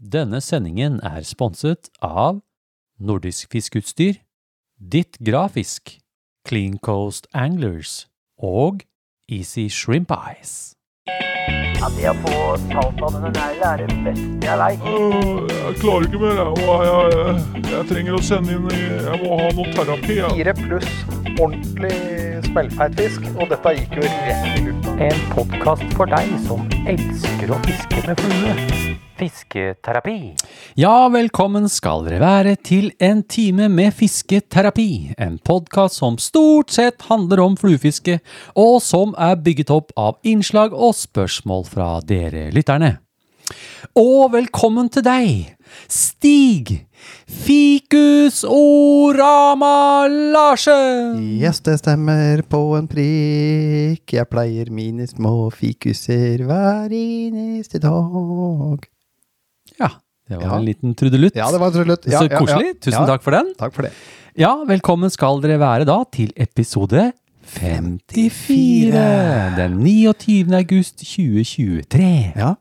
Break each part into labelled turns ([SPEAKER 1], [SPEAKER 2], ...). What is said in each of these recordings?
[SPEAKER 1] Denne sendingen er sponset av Nordisk fiskeutstyr, Ditt Grafisk, Clean Coast Anglers og Easy Shrimp Eyes.
[SPEAKER 2] Ja, det å få talt av denne negla er det beste jeg veit.
[SPEAKER 3] Øh, Jeg klarer ikke mer. Jeg, Og jeg, jeg, jeg trenger å sende inn i- Jeg må ha noe terapi. Jeg.
[SPEAKER 4] Fire pluss ordentlig smellfeit fisk, og dette gikk jo rett i lufta.
[SPEAKER 2] En podkast for deg som elsker å fiske med flue. Fisketerapi.
[SPEAKER 1] Ja, velkommen skal dere være til en time med fisketerapi, en podkast som stort sett handler om fluefiske, og som er bygget opp av innslag og spørsmål fra dere lytterne. Og velkommen til deg, Stig Fikus Orama Larsen!
[SPEAKER 5] Yes, det stemmer på en prikk. Jeg pleier mine små fikuser hver eneste dag.
[SPEAKER 1] Ja, det var
[SPEAKER 5] Ja.
[SPEAKER 1] en liten trudelutt.
[SPEAKER 5] Ja, det var trullet. Ja,
[SPEAKER 1] Så
[SPEAKER 5] ja, ja.
[SPEAKER 1] koselig. Tusen
[SPEAKER 5] Ja,
[SPEAKER 1] takk for den.
[SPEAKER 5] Takk for det.
[SPEAKER 1] Ja, velkommen skal dere være da til episode 54. Den 29. august 2023.
[SPEAKER 5] Ja.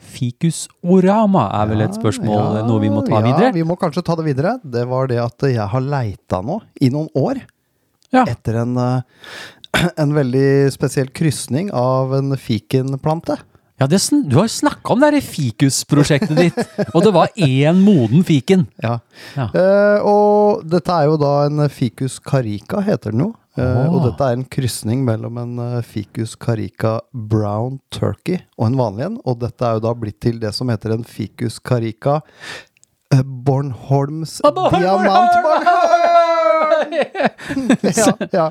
[SPEAKER 1] Fikus orama er vel et spørsmål,
[SPEAKER 5] Ja,
[SPEAKER 1] noe vi må ta
[SPEAKER 5] ja,
[SPEAKER 1] videre?
[SPEAKER 5] Vi må kanskje ta det videre. Det var det at jeg har leita nå i noen år
[SPEAKER 1] Ja.
[SPEAKER 5] etter en, eh, en veldig spesiell krysning av en fikenplante.
[SPEAKER 1] ja det, sn- du har snakka om det her fikusprosjektet ditt, og det var én moden fiken.
[SPEAKER 5] Ja.
[SPEAKER 1] Ja.
[SPEAKER 5] Eh, og dette er jo da en eh, ficus carica, heter den jo. Eh,
[SPEAKER 1] Åh.
[SPEAKER 5] Og dette er en krysning mellom en eh, ficus carica brown turkey og en vanlig en. Og dette er jo da blitt til det som heter en ficus carica eh, Bornholms
[SPEAKER 1] Bornholm!
[SPEAKER 5] diamant. ja, ja.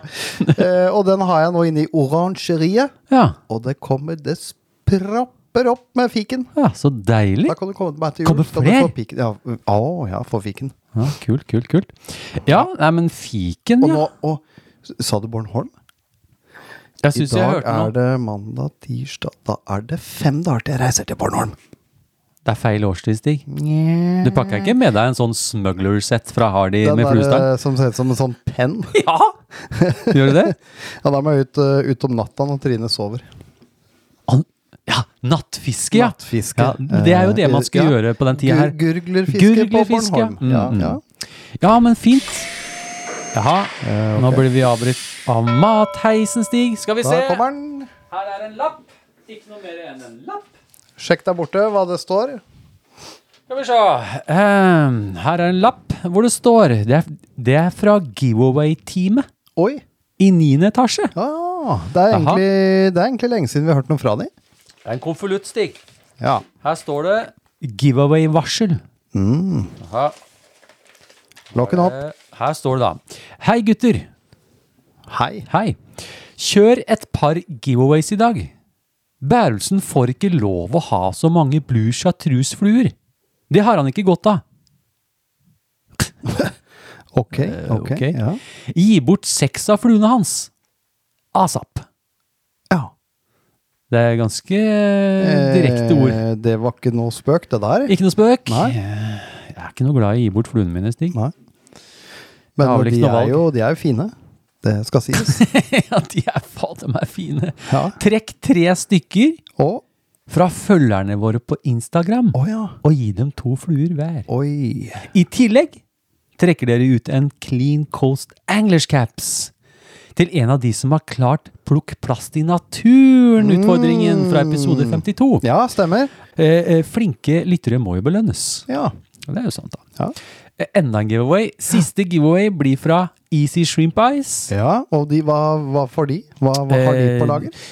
[SPEAKER 5] Eh, og den har jeg nå inne i orangeriet,
[SPEAKER 1] Ja,
[SPEAKER 5] og det kommer Det propper opp med fiken.
[SPEAKER 1] ja så deilig.
[SPEAKER 5] Da kan du komme til meg til
[SPEAKER 1] Kommer
[SPEAKER 5] jul. skal du få
[SPEAKER 1] flere?
[SPEAKER 5] piken. Ja, å, ja, få fiken.
[SPEAKER 1] Ja, kult, kult, kult. Ja, nei, men fiken,
[SPEAKER 5] Og
[SPEAKER 1] ja.
[SPEAKER 5] nå, og, sa du Bornholm?
[SPEAKER 1] Jeg
[SPEAKER 5] I
[SPEAKER 1] syns jeg
[SPEAKER 5] dag
[SPEAKER 1] hørte
[SPEAKER 5] er
[SPEAKER 1] noe.
[SPEAKER 5] det mandag, tirsdag Da er det fem dager til jeg reiser til Bornholm.
[SPEAKER 1] Det er feil årstid, Stig. Du pakka ikke med deg en sånn smugglersett fra Hardy
[SPEAKER 5] Den
[SPEAKER 1] med
[SPEAKER 5] der
[SPEAKER 1] fluestang?
[SPEAKER 5] eh, som ser ut som en sånn penn.
[SPEAKER 1] Ja! Gjør du det?
[SPEAKER 5] Ja, da må jeg ut, eh, ut om natta når Trine sover.
[SPEAKER 1] An- Ja, nattfiske, ja.
[SPEAKER 5] Nattfiske.
[SPEAKER 1] ja. men Det er jo det man skal
[SPEAKER 5] Eh, ja.
[SPEAKER 1] gjøre på den tida her.
[SPEAKER 5] Gur- Gurglerfiske på
[SPEAKER 1] Gurglerfiske, ja.
[SPEAKER 5] Bornholm. Ja,
[SPEAKER 1] Mm,
[SPEAKER 5] ja.
[SPEAKER 1] mm. Ja, men fint. Jaha, eh, nå blir vi avbrutt av matheisen, Stig. Skal vi se.
[SPEAKER 5] Eh, Da kommer den.
[SPEAKER 1] Her er en lapp. Ikke noe mer enn en lapp.
[SPEAKER 5] Sjekk der borte hva det står.
[SPEAKER 1] Skal vi se. Ehm, her er en lapp hvor det står Det er, det er fra giveaway-teamet
[SPEAKER 5] Oi!
[SPEAKER 1] i 9. etasje.
[SPEAKER 5] Ja, det, er
[SPEAKER 1] Jaha.
[SPEAKER 5] egentlig, det er egentlig lenge siden vi har hørt noe fra dem.
[SPEAKER 1] Det er en konvolutt, Stig.
[SPEAKER 5] Ja.
[SPEAKER 1] Her står det giveaway-varsel. Jaha.
[SPEAKER 5] Lokken opp.
[SPEAKER 1] Eh, Her står det da. Hei gutter.
[SPEAKER 5] Hei.
[SPEAKER 1] Hei. Kjør et par giveaways i dag. Bærelsen får ikke lov å ha så mange blue chartreuse-fluer. Det har han ikke godt av.
[SPEAKER 5] Ok. ok.
[SPEAKER 1] Eh, ok.
[SPEAKER 5] Ja.
[SPEAKER 1] Gi bort seks av fluene hans. Asap.
[SPEAKER 5] ja.
[SPEAKER 1] Det er ganske eh, direkte ord.
[SPEAKER 5] Eh, Det var ikke noe spøk, det der.
[SPEAKER 1] Ikke noe spøk.
[SPEAKER 5] Nei.
[SPEAKER 1] Jeg er ikke noe glad i å gi bort fluene mine, Stig.
[SPEAKER 5] Nei.
[SPEAKER 1] Jeg har vel
[SPEAKER 5] Men
[SPEAKER 1] ikke
[SPEAKER 5] de
[SPEAKER 1] noe
[SPEAKER 5] er,
[SPEAKER 1] valg.
[SPEAKER 5] jo, de er jo fine. Det skal sies.
[SPEAKER 1] Ja, de er fader meg fine.
[SPEAKER 5] Ja.
[SPEAKER 1] Trekk tre stykker
[SPEAKER 5] Og
[SPEAKER 1] fra følgerne våre på Instagram,
[SPEAKER 5] Å ja.
[SPEAKER 1] og gi dem to fluer hver.
[SPEAKER 5] Oi.
[SPEAKER 1] I tillegg trekker dere ut en Clean Coast Anglers Caps til en av de som har klart Plukk plast i naturen-utfordringen fra episode 52.
[SPEAKER 5] Mm. Ja, stemmer.
[SPEAKER 1] Eh, eh, flinke lyttere må jo belønnes.
[SPEAKER 5] Ja.
[SPEAKER 1] Det er jo sant, da.
[SPEAKER 5] Ja.
[SPEAKER 1] Eh, Enda en giveaway. Siste giveaway blir fra Easy Shrimp Ice. Eh,
[SPEAKER 5] ja. Og de, hva, hva får de? Hva, hva har de på lager?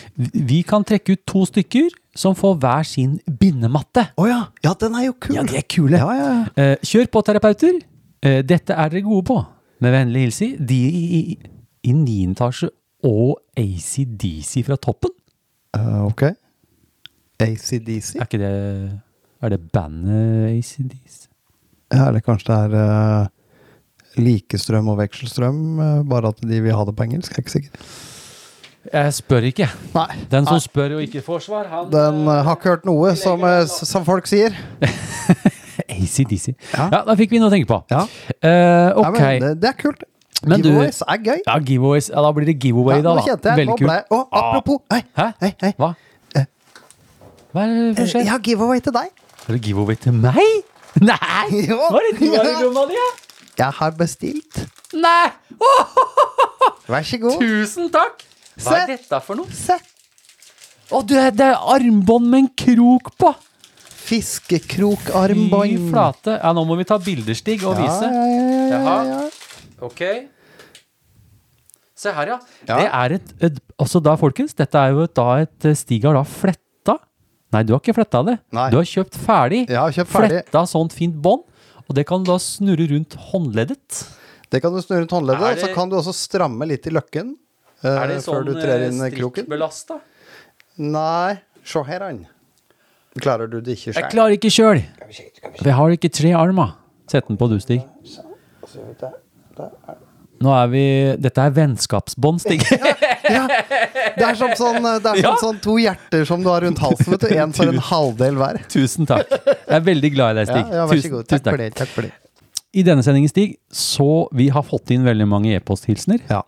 [SPEAKER 1] Vi kan trekke ut to stykker som får hver sin bindematte.
[SPEAKER 5] Å ja. Ja, den er jo kul.
[SPEAKER 1] Ja, de er kule.
[SPEAKER 5] Ja, ja, ja.
[SPEAKER 1] Eh, kjør på, terapeuter. Eh, dette er dere gode på. Med vennlig hilsen de i, i, i 9. etasje og ACDC fra toppen.
[SPEAKER 5] Eh, ok. ACDC?
[SPEAKER 1] Er ikke det Er det bandet ACDC?
[SPEAKER 5] Ja, eller kanskje det er eh, likestrøm og vekselstrøm, eh, bare at de vil ha det på engelsk? Jeg er ikke sikker.
[SPEAKER 1] Jeg spør ikke. jeg.
[SPEAKER 5] Nei.
[SPEAKER 1] Den som spør og ikke får svar, han
[SPEAKER 5] Den eh, har ikke hørt noe, som, eh, s- som folk sier.
[SPEAKER 1] ACDC. Ja.
[SPEAKER 5] eh, Ja.
[SPEAKER 1] da fikk vi noe å tenke på.
[SPEAKER 5] Ja.
[SPEAKER 1] Eh,
[SPEAKER 5] Nei,
[SPEAKER 1] ok.
[SPEAKER 5] men det, det er kult.
[SPEAKER 1] Men du-
[SPEAKER 5] Giveaways er gøy.
[SPEAKER 1] ja, giveaways. Ja, da blir det giveaway,
[SPEAKER 5] Ja,
[SPEAKER 1] da.
[SPEAKER 5] nå
[SPEAKER 1] da.
[SPEAKER 5] kjente jeg,
[SPEAKER 1] Veldig
[SPEAKER 5] nå
[SPEAKER 1] kult.
[SPEAKER 5] ble jeg Å, apropos! Hei,
[SPEAKER 1] Hæ?
[SPEAKER 5] hei, hei.
[SPEAKER 1] Hva? Hva er det som
[SPEAKER 5] Eh,
[SPEAKER 1] skjer?
[SPEAKER 5] Jeg har giveaway til deg.
[SPEAKER 1] Er det giveaway til meg? Nei!
[SPEAKER 5] Jo.
[SPEAKER 1] Var det du var i lomma di? ja?
[SPEAKER 5] Jeg har bestilt.
[SPEAKER 1] Nei! Åh,
[SPEAKER 5] Vær så god.
[SPEAKER 1] tusen takk! Hva
[SPEAKER 5] Se.
[SPEAKER 1] er dette for noe?
[SPEAKER 5] Se.
[SPEAKER 1] Å, du, det er armbånd med en krok på! Fy
[SPEAKER 5] Fiskekrokarmbånd.
[SPEAKER 1] flate. Ja, nå må vi ta bildestig og
[SPEAKER 5] Ja,
[SPEAKER 1] vise.
[SPEAKER 5] ja, ja, ja, ja,
[SPEAKER 1] Jaha.
[SPEAKER 5] ja.
[SPEAKER 1] Ok. Se her, ja.
[SPEAKER 5] Ja.
[SPEAKER 1] Det er et, et Altså da, folkens, dette er jo et- da et eh, Stig har da fletta Nei, du har ikke fletta det.
[SPEAKER 5] Nei.
[SPEAKER 1] Du har kjøpt ferdig.
[SPEAKER 5] Jeg har kjøpt ferdig.
[SPEAKER 1] Fletta sånt fint bånd. Og det kan du da snurre rundt håndleddet.
[SPEAKER 5] Det kan du snurre rundt håndleddet,
[SPEAKER 1] Er
[SPEAKER 5] og så
[SPEAKER 1] det- sånn,
[SPEAKER 5] kan du også stramme litt i løkken. eh, før du trer inn i
[SPEAKER 1] eh,
[SPEAKER 5] kroken?
[SPEAKER 1] strikkbelasta?
[SPEAKER 5] Nei, se her, han. Klarer du det ikke
[SPEAKER 1] Jeg
[SPEAKER 5] sjøl?
[SPEAKER 1] klarer ikke sjøl. Jeg har ikke tre armer. Sett den på du, Stig. Nå er vi Dette er vennskapsbånd, Stig.
[SPEAKER 5] Det er som sånn, eh, det er
[SPEAKER 1] Ja.
[SPEAKER 5] som sånn to hjerter som du har rundt halsen, vet du. Én for en halvdel hver.
[SPEAKER 1] Tusen takk. Jeg er veldig glad i deg,
[SPEAKER 5] Ja,
[SPEAKER 1] Stig.
[SPEAKER 5] ja, vær så
[SPEAKER 1] tusen, tusen
[SPEAKER 5] god. Takk
[SPEAKER 1] takk.
[SPEAKER 5] for det. Takk for det.
[SPEAKER 1] I denne sendingen, Stig, så vi har fått inn veldig mange e-posthilsener.
[SPEAKER 5] Ja.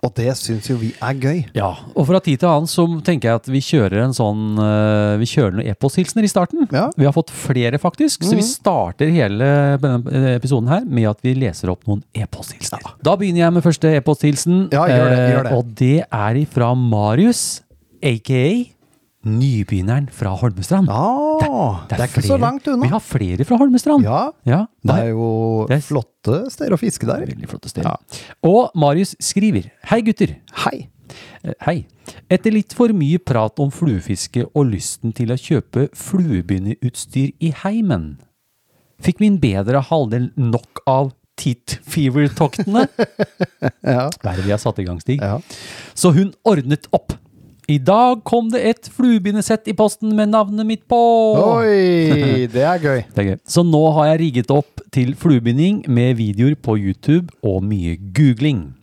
[SPEAKER 5] Og det syns jo vi er gøy.
[SPEAKER 1] Ja, og fra tid til annen så tenker jeg at vi kjører en sånn eh, Vi kjører noen e-posthilsener i starten.
[SPEAKER 5] Ja. Mhm.
[SPEAKER 1] Vi har fått flere, faktisk, så vi starter hele denne eh, episoden her med at vi leser opp noen e-posthilsener. Da begynner jeg med første e-posthilsen,
[SPEAKER 5] Ja, gjør det, gjør
[SPEAKER 1] eh,
[SPEAKER 5] det.
[SPEAKER 1] og det er ifra Marius, aka nybegynneren fra Holmestrand.
[SPEAKER 5] Ah, det, er ikke så
[SPEAKER 1] flere-
[SPEAKER 5] langt
[SPEAKER 1] Vi
[SPEAKER 5] unna.
[SPEAKER 1] har flere fra Holmestrand.
[SPEAKER 5] Ja,
[SPEAKER 1] ja
[SPEAKER 5] det er jo
[SPEAKER 1] Det er-
[SPEAKER 5] flotte steder å fiske der.
[SPEAKER 1] Veldig flotte steder. Og Marius skriver Hei gutter.
[SPEAKER 5] Hei.
[SPEAKER 1] Eh, Hei. Etter litt for mye prat om fluefiske og lysten til å kjøpe fluebindeutstyr i heimen, fikk min bedre halvdel nok av tit fever-toktene.
[SPEAKER 5] Ja.
[SPEAKER 1] Hva er det vi har satt i gang, Stig?
[SPEAKER 5] Ja.
[SPEAKER 1] Så hun ordnet opp. I dag kom det et fluebindesett i posten med navnet mitt på.
[SPEAKER 5] Oi, det er gøy.
[SPEAKER 1] Det er gøy. Så nå har jeg rigget opp til fluebinding med videoer på YouTube og mye googling.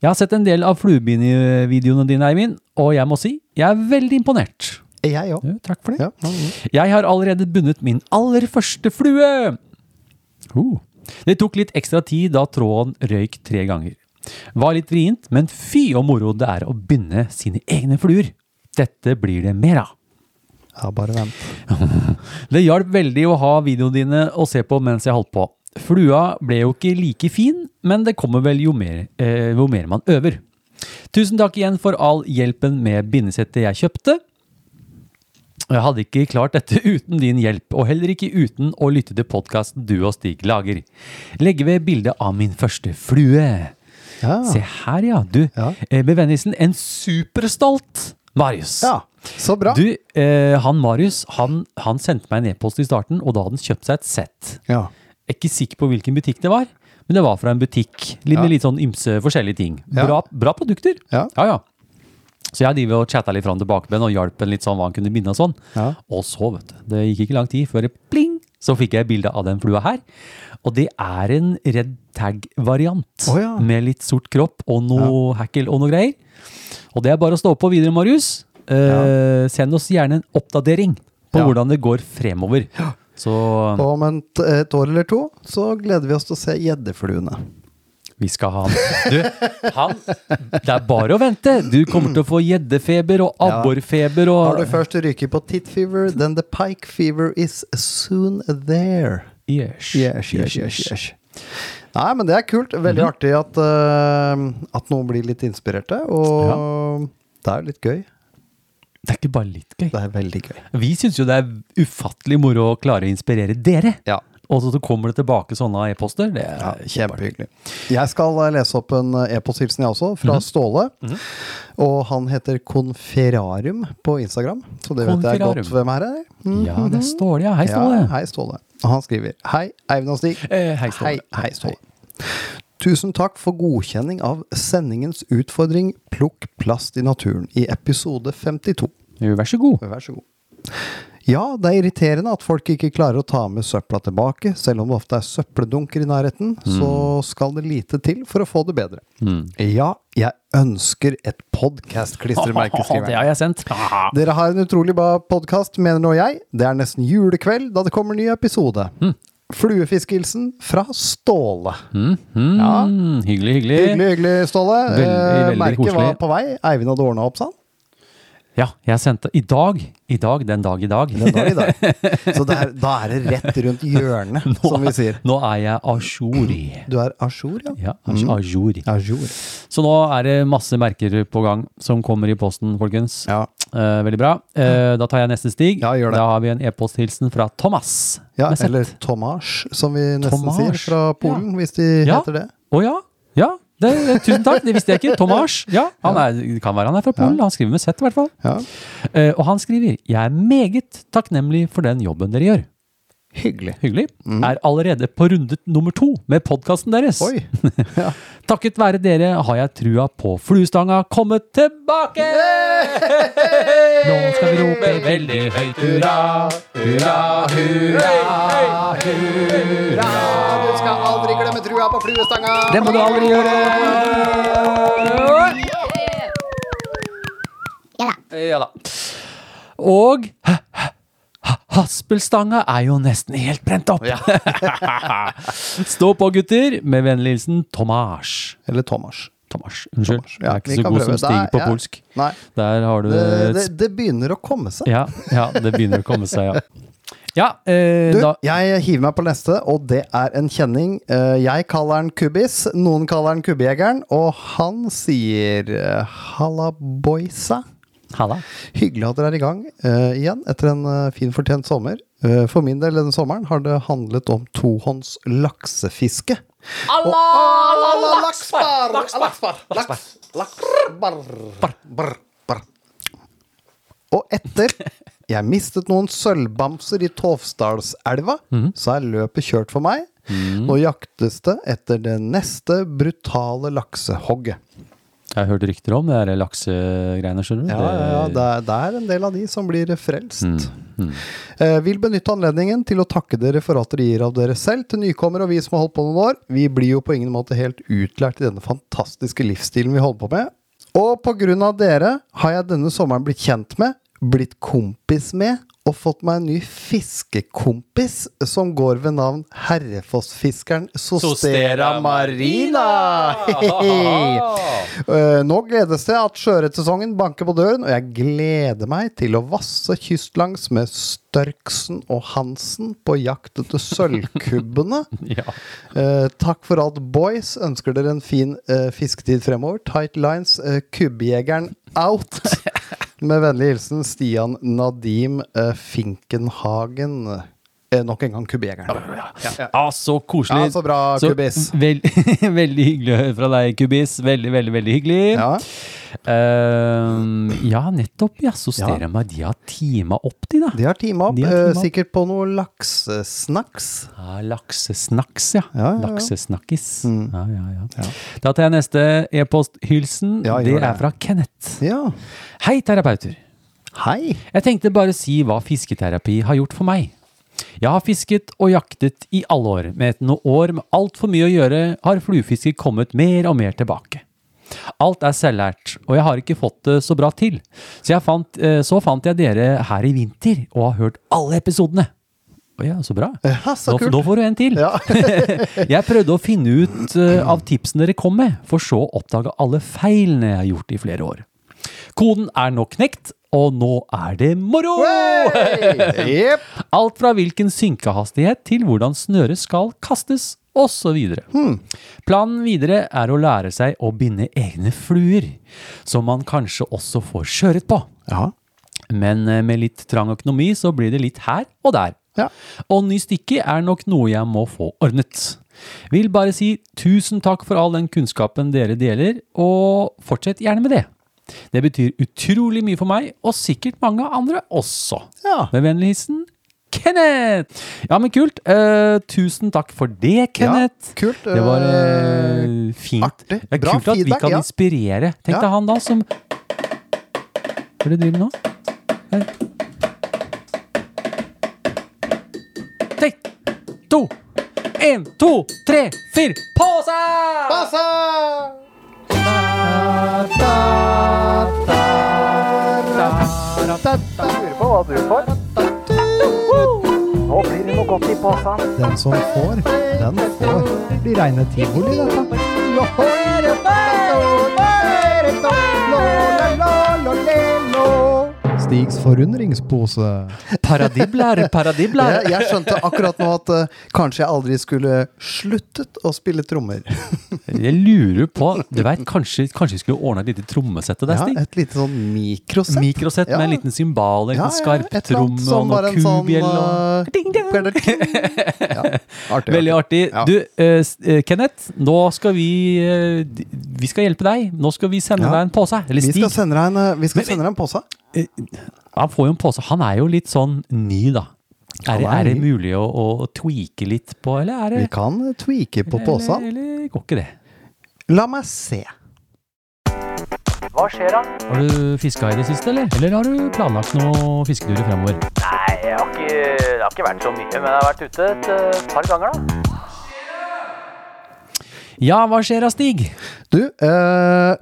[SPEAKER 1] Jeg har sett en del av fluebindevideoene dine, Eivind, og jeg må si jeg er veldig imponert.
[SPEAKER 5] Jeg òg.
[SPEAKER 1] Ja, takk for det.
[SPEAKER 5] Ja. mhm.
[SPEAKER 1] Jeg har allerede bundet min aller første flue. Oh. Det tok litt ekstra tid da tråden røyk tre ganger. Var litt vrient, men fy og moro det er å binde sine egne fluer. Dette blir det mer av.
[SPEAKER 5] ja, bare vent.
[SPEAKER 1] Det hjalp veldig å ha videoene dine å se på mens jeg holdt på. Flua ble jo ikke like fin, men det kommer vel jo mer, eh, jo mer man øver. Tusen takk igjen for all hjelpen med bindesettet jeg kjøpte. Jeg hadde ikke klart dette uten din hjelp, og heller ikke uten å lytte til podkasten du og Stig lager. Legge ved bilde av min første flue.
[SPEAKER 5] Ja.
[SPEAKER 1] Se her, ja. Du,
[SPEAKER 5] Ah. Ja.
[SPEAKER 1] eh, med vennligsen en superstolt Marius.
[SPEAKER 5] ja, så bra.
[SPEAKER 1] Du, eh, han Marius, han, han sendte meg en e-post i starten, og da hadde han kjøpt seg et sett.
[SPEAKER 5] Ja.
[SPEAKER 1] Jeg er ikke sikker på hvilken butikk det var, men det var fra en butikk litt, med
[SPEAKER 5] Ja.
[SPEAKER 1] litt sånn ymse forskjellige ting.
[SPEAKER 5] Ja.
[SPEAKER 1] Bra, bra produkter.
[SPEAKER 5] Ja.
[SPEAKER 1] ja. Så jeg driver og chatta litt fram tilbake med han og hjalp han litt sånn hva han kunne binde og sånn.
[SPEAKER 5] Ja.
[SPEAKER 1] Og så, vet du, det gikk ikke lang tid før det pling, så fikk jeg bilde av den flua her. Og det er en red tag-variant
[SPEAKER 5] Å ja.
[SPEAKER 1] med litt sort kropp og noe hackel og noe greier. Og det er bare å stå på videre, Marius. Eh, Send oss gjerne en oppdatering på
[SPEAKER 5] Ja.
[SPEAKER 1] hvordan det går fremover. Så
[SPEAKER 5] Og om en t- et år eller to så gleder vi oss til å se gjeddefluene.
[SPEAKER 1] vi skal ha han. Du, han, det er bare å vente. Du kommer til å få gjeddefeber og
[SPEAKER 5] Ja.
[SPEAKER 1] abborfeber og
[SPEAKER 5] Når du først ryker på tit fever, then the pike fever is soon there.
[SPEAKER 1] Yes.
[SPEAKER 5] Yes, yes, yes, yes. Mhm. Nei, men det er kult. Veldig artig at, eh, at noen blir litt inspirerte. Og det er litt gøy.
[SPEAKER 1] Det er ikke bare litt gøy.
[SPEAKER 5] Det er veldig gøy.
[SPEAKER 1] Vi syns jo det er ufattelig moro å klare å inspirere dere.
[SPEAKER 5] Ja.
[SPEAKER 1] Og så kommer det tilbake sånne e-poster. Det
[SPEAKER 5] Ja,
[SPEAKER 1] er
[SPEAKER 5] Kjempehyggelig. Jeg skal eh, lese opp en eh, e-posthilsen, jeg også, fra Ståle. Og han heter Konferarium på Instagram, så det vet jeg
[SPEAKER 1] Konferarium.
[SPEAKER 5] godt hvem er. det. Mm.
[SPEAKER 1] Ja, det står det, ja. Hei,
[SPEAKER 5] Ja,
[SPEAKER 1] Ståle.
[SPEAKER 5] hei, Ståle. Og han skriver Hei, Eivind og Stig.
[SPEAKER 1] Eh, hei, Ståle.
[SPEAKER 5] Hei, hei, Ståle. Tusen takk for godkjenning av sendingens utfordring 'Plukk plast i naturen' i episode 52.
[SPEAKER 1] Jo, Vær så god.
[SPEAKER 5] Vær så god. Ja, det er irriterende at folk ikke klarer å ta med søpla tilbake. Selv om det ofte er søppeldunker i nærheten,
[SPEAKER 1] Mm.
[SPEAKER 5] så skal det lite til for å få det bedre.
[SPEAKER 1] Mm.
[SPEAKER 5] Ja, jeg ønsker et podkast-klistremerke, skriver
[SPEAKER 1] det
[SPEAKER 5] jeg.
[SPEAKER 1] har jeg sendt.
[SPEAKER 5] Dere har en utrolig bra podkast, mener nå jeg. Det er nesten julekveld da det kommer ny episode. Fluefiskehilsen fra Ståle.
[SPEAKER 1] Mm, hyggelig, hyggelig.
[SPEAKER 5] Hyggelig, hyggelig, Ståle.
[SPEAKER 1] Veldig,
[SPEAKER 5] Eh,
[SPEAKER 1] veldig
[SPEAKER 5] Merket
[SPEAKER 1] koselig.
[SPEAKER 5] var på vei. Eivind hadde ordna opp, sa han.
[SPEAKER 1] Ja, jeg sendte i dag. I dag, den dag i dag.
[SPEAKER 5] Den dag i dag. Så det er, da er det rett rundt hjørnet, som vi sier.
[SPEAKER 1] Nå er jeg a jour.
[SPEAKER 5] Du er à jour, ja?
[SPEAKER 1] Ja, a a jour.
[SPEAKER 5] À jour.
[SPEAKER 1] Så nå er det masse merker på gang som kommer i posten, folkens.
[SPEAKER 5] Ja.
[SPEAKER 1] Eh, veldig bra. Eh, da tar jeg neste stig.
[SPEAKER 5] Ja, gjør det.
[SPEAKER 1] Da har vi en e-posthilsen fra Thomas.
[SPEAKER 5] ja
[SPEAKER 1] med Z.
[SPEAKER 5] eller Tomasz, som vi nesten sier,
[SPEAKER 1] Tomasz.
[SPEAKER 5] fra Polen, hvis de
[SPEAKER 1] Ja.
[SPEAKER 5] heter det.
[SPEAKER 1] Å ja. Ja. Det, det, tusen takk, det visste jeg ikke. Tomas. Ja, han er, det kan være han er fra Polen. Han skriver med Z, i hvert fall.
[SPEAKER 5] Ja.
[SPEAKER 1] Eh, og han skriver Jeg er meget takknemlig for den jobben dere gjør.
[SPEAKER 5] Hyggelig. Mm.
[SPEAKER 1] Hyggelig. Er allerede på runde nummer to med podkasten deres.
[SPEAKER 5] Oi. Ja.
[SPEAKER 1] Takket være dere har jeg trua på fluestanga kommet tilbake! Nå skal vi rope veldig høyt hurra, hurra, hurra.
[SPEAKER 5] Du skal aldri glemme trua på fluestanga!
[SPEAKER 1] Det må du aldri gjøre!
[SPEAKER 6] Ja da.
[SPEAKER 1] Ja da. Og ha- ha- ha- haspelstanga er jo nesten helt brent opp. Stå på, gutter. Med vennlig hilsen Tomas.
[SPEAKER 5] Eller Tomasz.
[SPEAKER 1] Tomas, unnskyld.
[SPEAKER 5] Ja,
[SPEAKER 1] jeg er ikke
[SPEAKER 5] vi
[SPEAKER 1] så
[SPEAKER 5] kan
[SPEAKER 1] god
[SPEAKER 5] prøve.
[SPEAKER 1] som Stig
[SPEAKER 5] Nei,
[SPEAKER 1] på
[SPEAKER 5] ja.
[SPEAKER 1] polsk.
[SPEAKER 5] Nei.
[SPEAKER 1] Der har du
[SPEAKER 5] Det,
[SPEAKER 1] et
[SPEAKER 5] det, det begynner å komme seg.
[SPEAKER 1] Ja, ja, det begynner å komme seg, ja. Ja, eh,
[SPEAKER 5] Du,
[SPEAKER 1] da
[SPEAKER 5] jeg hiver meg på neste, og det er en kjenning. Eh, Jeg kaller han Kubbis, noen kaller han Kubbjegeren, og han sier eh, Halla, boysa.
[SPEAKER 1] Halla.
[SPEAKER 5] Hyggelig at dere er i gang eh, igjen etter en eh, fin fortjent sommer. Eh, for min del denne sommeren har det handlet om tohånds laksefiske. Og- Allah, lakspar! Lakspar! Laks- lakspar. Brr, brr. Og etter jeg mistet noen sølvbamser i Tovsdalselva, så er løpet kjørt for meg. Nå jaktes det etter det neste brutale laksehogget.
[SPEAKER 1] Jeg har hørt rykter om det der laksegreiene, skjønner du.
[SPEAKER 5] Ja, ja, ja. Det, er, det er en del av de som blir frelst. Eh, vil benytte anledningen til å takke dere for at dere gir av dere selv til nykommere og vi som har holdt på noen år. Vi blir jo på ingen måte helt utlært i denne fantastiske livsstilen vi holder på med. Og på grunn av dere har jeg denne sommeren blitt kjent med, blitt kompis med og fått meg en ny fiskekompis som går ved navn Herrefossfiskeren Sostera Marina. Hehehe. Eh, Nå gledes det at sjøørretsesongen banker på døren, og jeg gleder meg til å vasse kystlangs med Størksen og Hansen på jakt etter sølvkubbene.
[SPEAKER 1] Ja.
[SPEAKER 5] Eh, takk for alt, boys. Ønsker dere en fin eh, fisketid fremover. Tight lines, eh, kubbjegeren out! Med vennlig hilsen Stian Nadim eh, Finkenhagen. Eh, nok en gang kubbjegeren.
[SPEAKER 1] Ah, så koselig.
[SPEAKER 5] Ja, så bra, Kubis.
[SPEAKER 1] vel- veldig hyggelig å høre fra deg, Kubis. Veldig, veldig, veldig hyggelig.
[SPEAKER 5] Ja.
[SPEAKER 1] Ehm, ja, nettopp, ja. Så ser jeg meg de har teama opp, de, da.
[SPEAKER 5] De har teama opp,
[SPEAKER 1] De har
[SPEAKER 5] eh,
[SPEAKER 1] teamet opp.
[SPEAKER 5] sikkert på noe laksesnacks.
[SPEAKER 1] Ja, Ah, laksesnacks, ja.
[SPEAKER 5] Ja, ja, Mm. ja.
[SPEAKER 1] Laksesnakkis. Ja, ja, ja. Da tar jeg neste e-posthylsen.
[SPEAKER 5] Ja, gjør
[SPEAKER 1] det er
[SPEAKER 5] det.
[SPEAKER 1] fra Kenneth.
[SPEAKER 5] Ja.
[SPEAKER 1] Hei, terapeuter.
[SPEAKER 5] Hei!
[SPEAKER 1] Jeg tenkte bare si hva fisketerapi har gjort for meg. Jeg har fisket og jaktet i alle år, men etter noen år med altfor mye å gjøre, har fluefiske kommet mer og mer tilbake. Alt er selvlært, og jeg har ikke fått det så bra til, så, jeg fant, eh, så fant jeg dere her i vinter og har hørt alle episodene. Å ja, så bra.
[SPEAKER 5] Ja, så
[SPEAKER 1] nå,
[SPEAKER 5] kult.
[SPEAKER 1] nå får du en til.
[SPEAKER 5] Ja.
[SPEAKER 1] jeg prøvde å finne ut eh, av tipsene dere kom med, for så å oppdage alle feilene jeg har gjort i flere år. Koden er nå knekt, og nå er det moro!
[SPEAKER 5] Jepp.
[SPEAKER 1] Alt fra hvilken synkehastighet til hvordan snøret skal kastes, osv. Hmm. Planen videre er å lære seg å binde egne fluer, som man kanskje også får skjøret på.
[SPEAKER 5] Ja.
[SPEAKER 1] Men eh, med litt trang økonomi så blir det litt her og der.
[SPEAKER 5] Ja.
[SPEAKER 1] Og ny stikke er nok noe jeg må få ordnet. Vil bare si tusen takk for all den kunnskapen dere deler, og fortsett gjerne med det. Det betyr utrolig mye for meg, og sikkert mange andre også.
[SPEAKER 5] Ja.
[SPEAKER 1] Med vennlig hilsen Kenneth! Ja, men kult. Eh, tusen takk for det, Kenneth.
[SPEAKER 5] kult.
[SPEAKER 1] Det var eh,
[SPEAKER 5] Eh,
[SPEAKER 1] fint.
[SPEAKER 5] artig.
[SPEAKER 1] Det er
[SPEAKER 5] Bra
[SPEAKER 1] kult at vi
[SPEAKER 5] feedback,
[SPEAKER 1] kan
[SPEAKER 5] ja.
[SPEAKER 1] inspirere. Tenk
[SPEAKER 5] Ja.
[SPEAKER 1] deg han da som Hva er det du driver med nå? Her. Tenk! To! En, to, tre, fire, på seg!
[SPEAKER 5] Altså!
[SPEAKER 4] Lurer på hva du får. Nå blir det noe godt i posen.
[SPEAKER 5] Den som får, den får. Det blir reine tivoli, dette. La, la, la, la, le, lo.
[SPEAKER 6] Stigs forundringspose.
[SPEAKER 1] Paradibler, paradibler.
[SPEAKER 5] Jeg, jeg skjønte akkurat nå at eh, kanskje jeg aldri skulle sluttet å spille trommer.
[SPEAKER 1] Jeg lurer på Du vet, kanskje, kanskje vi skulle ordna et lite trommesett til deg,
[SPEAKER 5] Ja,
[SPEAKER 1] Stig?
[SPEAKER 5] et lite sånn mikrosett.
[SPEAKER 1] Mikrosett med en liten symbal, en ja,
[SPEAKER 5] Ja, ja, et eller annet
[SPEAKER 1] skarptromme og
[SPEAKER 5] som bare
[SPEAKER 1] noe
[SPEAKER 5] en sånn,
[SPEAKER 1] kubjell. og-
[SPEAKER 5] eh, Ja, artig.
[SPEAKER 1] Veldig artig.
[SPEAKER 5] eh, Ja.
[SPEAKER 1] Du, eh, s- eh, Kenneth, nå skal vi eh, d- Vi skal hjelpe deg. Nå skal vi sende
[SPEAKER 5] Ja.
[SPEAKER 1] deg en pose. Eller
[SPEAKER 5] Vi
[SPEAKER 1] Stig.
[SPEAKER 5] skal sende deg en, eh, vi skal sende deg en pose.
[SPEAKER 1] Han får jo en pose. Han er jo litt sånn ny, da. Er,
[SPEAKER 5] Han
[SPEAKER 1] det-
[SPEAKER 5] er
[SPEAKER 1] er det
[SPEAKER 5] ny.
[SPEAKER 1] mulig å, å tweake litt på, eller er
[SPEAKER 5] Vi
[SPEAKER 1] det
[SPEAKER 5] kan tweake på
[SPEAKER 1] eller,
[SPEAKER 5] posen.
[SPEAKER 1] eller går ikke det?
[SPEAKER 5] La meg se.
[SPEAKER 2] Hva skjer da?
[SPEAKER 1] Har du fiska i det siste, eller? Eller har du planlagt noen fisketurer fremover?
[SPEAKER 2] Nei, jeg har ikke, det har ikke vært så mye, men jeg har vært ute et eh, par ganger da.
[SPEAKER 1] Ja, hva skjer da, Stig?
[SPEAKER 5] Du, eh,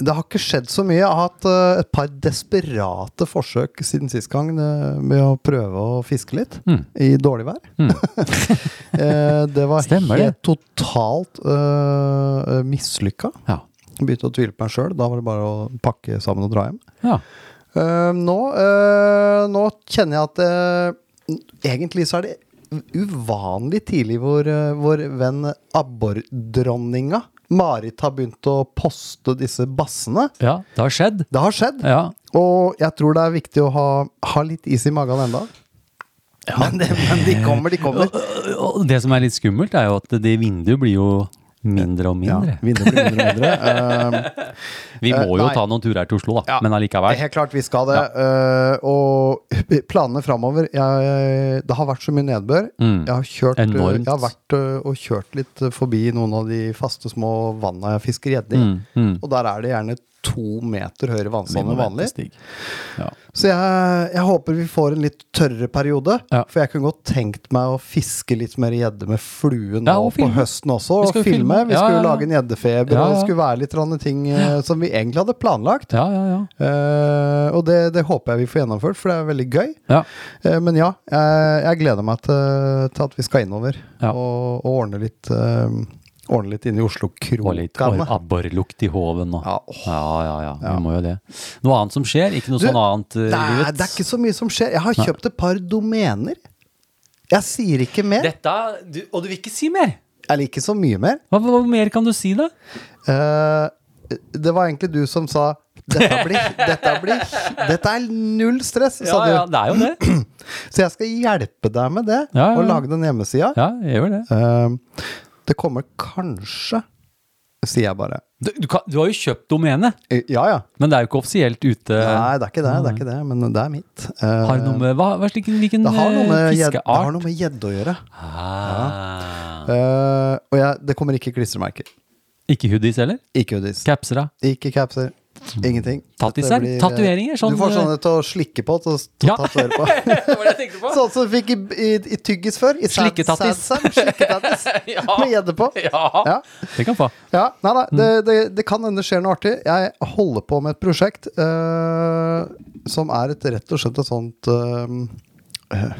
[SPEAKER 5] det har ikke skjedd så mye. Jeg har hatt eh, et par desperate forsøk siden sist gang eh, med å prøve å fiske litt
[SPEAKER 1] Mm.
[SPEAKER 5] i dårlig vær. Eh, det var
[SPEAKER 1] Stemmer
[SPEAKER 5] helt
[SPEAKER 1] det.
[SPEAKER 5] totalt uh, mislykka.
[SPEAKER 1] Ja.
[SPEAKER 5] Begynte å tvile på meg sjøl. Da var det bare å pakke sammen og dra hjem.
[SPEAKER 1] ja.
[SPEAKER 5] Eh, nå, eh, nå kjenner jeg at eh, egentlig så er det uvanlig tidlig hvor eh, vår venn abbordronninga Marit har begynt å poste disse bassene.
[SPEAKER 1] Ja, det har skjedd.
[SPEAKER 5] Det har skjedd,
[SPEAKER 1] Ja.
[SPEAKER 5] og jeg tror det er viktig å ha, ha litt is i magen enda. Men, det, men de kommer, de kommer.
[SPEAKER 1] Og det som er litt skummelt, er jo at det vinduet blir jo mindre og mindre.
[SPEAKER 5] vinduet blir mindre og mindre. Eh,
[SPEAKER 1] Vi må jo
[SPEAKER 5] nei.
[SPEAKER 1] ta noen turer til Oslo, da. Men
[SPEAKER 5] Det er
[SPEAKER 1] allikevel.
[SPEAKER 5] helt klart vi skal det. eh, og planene framover Det har vært så mye nedbør.
[SPEAKER 1] Mm.
[SPEAKER 5] Jeg har kjørt eh,
[SPEAKER 1] Enormt.
[SPEAKER 5] Jeg har vært eh, og kjørt litt eh, forbi noen av de faste små vanna jeg fisker gjedde i.
[SPEAKER 1] Mm, mm.
[SPEAKER 5] Og der er det gjerne to meter
[SPEAKER 1] Vi
[SPEAKER 5] høyere vannstand
[SPEAKER 1] må
[SPEAKER 5] enn
[SPEAKER 1] vente,
[SPEAKER 5] Sånn vanlig.
[SPEAKER 1] Stig. Ja.
[SPEAKER 5] Så jeg, jeg håper vi får en litt tørrere periode.
[SPEAKER 1] Ja.
[SPEAKER 5] For jeg kunne godt tenkt meg å fiske litt mer gjedde med flue nå
[SPEAKER 1] Ja, og
[SPEAKER 5] på
[SPEAKER 1] filme.
[SPEAKER 5] høsten også.
[SPEAKER 1] Vi
[SPEAKER 5] Og
[SPEAKER 1] skal jo
[SPEAKER 5] filme.
[SPEAKER 1] filme.
[SPEAKER 5] Vi
[SPEAKER 1] Ja, ja,
[SPEAKER 5] skulle
[SPEAKER 1] ja.
[SPEAKER 5] lage en
[SPEAKER 1] Ja,
[SPEAKER 5] gjeddefeber, og
[SPEAKER 1] ja.
[SPEAKER 5] det skulle være litt rande ting eh, som vi egentlig hadde planlagt.
[SPEAKER 1] Ja, ja, ja.
[SPEAKER 5] Eh, og det, det håper jeg vi får gjennomført, for det er veldig gøy.
[SPEAKER 1] ja.
[SPEAKER 5] Eh, men ja, jeg, jeg gleder meg til, til at vi skal innover
[SPEAKER 1] Ja.
[SPEAKER 5] og, og ordne litt uh, Ordne litt inn i
[SPEAKER 1] Og litt
[SPEAKER 5] Oslo-krokene.
[SPEAKER 1] abborlukt i hoven og
[SPEAKER 5] Ja,
[SPEAKER 1] ja, ja, ja. Vi må jo det. Noe annet som skjer? Ikke noe sånn annet eh,
[SPEAKER 5] Det,
[SPEAKER 1] i
[SPEAKER 5] er-
[SPEAKER 1] livet?
[SPEAKER 5] det er ikke sånn. så mye som skjer. Jeg har kjøpt et par domener. Jeg sier ikke mer.
[SPEAKER 1] Dette du, Og du vil ikke si mer?
[SPEAKER 5] Eller ikke så mye mer.
[SPEAKER 1] Hva, hva mer kan du si, da?
[SPEAKER 5] Eh, det var egentlig du som sa dette blir, dette blir Dette er null stress, sa
[SPEAKER 1] Ja,
[SPEAKER 5] du.
[SPEAKER 1] ja, det er jo det.
[SPEAKER 5] Så jeg skal hjelpe deg med det,
[SPEAKER 1] Ja, ja,
[SPEAKER 5] og
[SPEAKER 1] ja.
[SPEAKER 5] lage den hjemmesida.
[SPEAKER 1] Ja, jeg gjør det.
[SPEAKER 5] Eh, det kommer kanskje, sier jeg bare.
[SPEAKER 1] Du, du, kan, du har jo kjøpt domenet,
[SPEAKER 5] Eh, Ja ja.
[SPEAKER 1] men det er jo ikke offisielt ute.
[SPEAKER 5] Nei, det er ikke det, det er ikke det men det er mitt. Eh,
[SPEAKER 1] Mm. Har det noe med hva, hva, hvilken, hvilken
[SPEAKER 5] det har noe
[SPEAKER 1] eh,
[SPEAKER 5] med gjed- det har
[SPEAKER 1] fiskeart?
[SPEAKER 5] noe med gjedde å gjøre.
[SPEAKER 1] Ah.
[SPEAKER 5] Eh, og jeg, det kommer ikke klistremerker.
[SPEAKER 1] Ikke hoodies heller?
[SPEAKER 5] Ikke hoodies.
[SPEAKER 1] Capser, da?
[SPEAKER 5] Ikke capser.
[SPEAKER 1] Mm.
[SPEAKER 5] Ingenting.
[SPEAKER 1] Tattiser?
[SPEAKER 5] Dette blir, eh,
[SPEAKER 1] Tatoveringer, sånn-
[SPEAKER 5] Du får sånne til å slikke på. Til å til å
[SPEAKER 1] Ja.
[SPEAKER 5] tatovere på. sånn som du fikk i, i, i tyggis før. I sad-
[SPEAKER 1] Slikketattis.
[SPEAKER 5] sad- sad- Slikketattis. Med gjedde på.
[SPEAKER 1] Ja.
[SPEAKER 5] Ja.
[SPEAKER 1] Det kan få.
[SPEAKER 5] Ja, nei da, det, det, det kan hende det skjer noe artig. Jeg holder på med et prosjekt eh, som er et rett og slett et sånt eh, eh,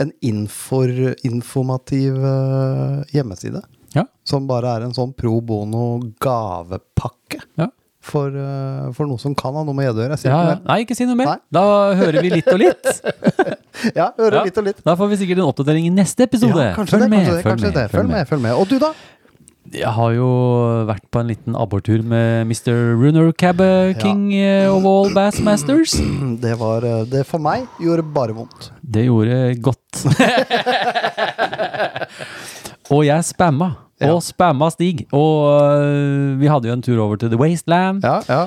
[SPEAKER 5] En infor, informativ eh, hjemmeside.
[SPEAKER 1] Ja.
[SPEAKER 5] Som bare er en sånn pro bono gavepakke
[SPEAKER 1] Ja.
[SPEAKER 5] for, eh, for noe som kan ha noe med gjedde å gjøre. Jeg sier
[SPEAKER 1] Ja, ja.
[SPEAKER 5] ikke mer.
[SPEAKER 1] Nei, ikke si noe mer.
[SPEAKER 5] Nei.
[SPEAKER 1] Da hører vi litt og litt.
[SPEAKER 5] Ja, hører
[SPEAKER 1] Ja.
[SPEAKER 5] litt og litt.
[SPEAKER 1] Da får vi sikkert en oppdatering i neste episode.
[SPEAKER 5] Ja, kanskje det, kanskje det, kanskje det. Følg med, følg med. Og du, da?
[SPEAKER 1] Jeg har jo vært på en liten abbortur med Mr. Runner Cab eh, King eh, of all Bassmasters.
[SPEAKER 5] Det var eh, Det for meg gjorde bare vondt.
[SPEAKER 1] Det gjorde godt. og jeg spamma. Og spamma Stig. Og øh, vi hadde jo en tur over til The Wasteland.
[SPEAKER 5] Ja, ja.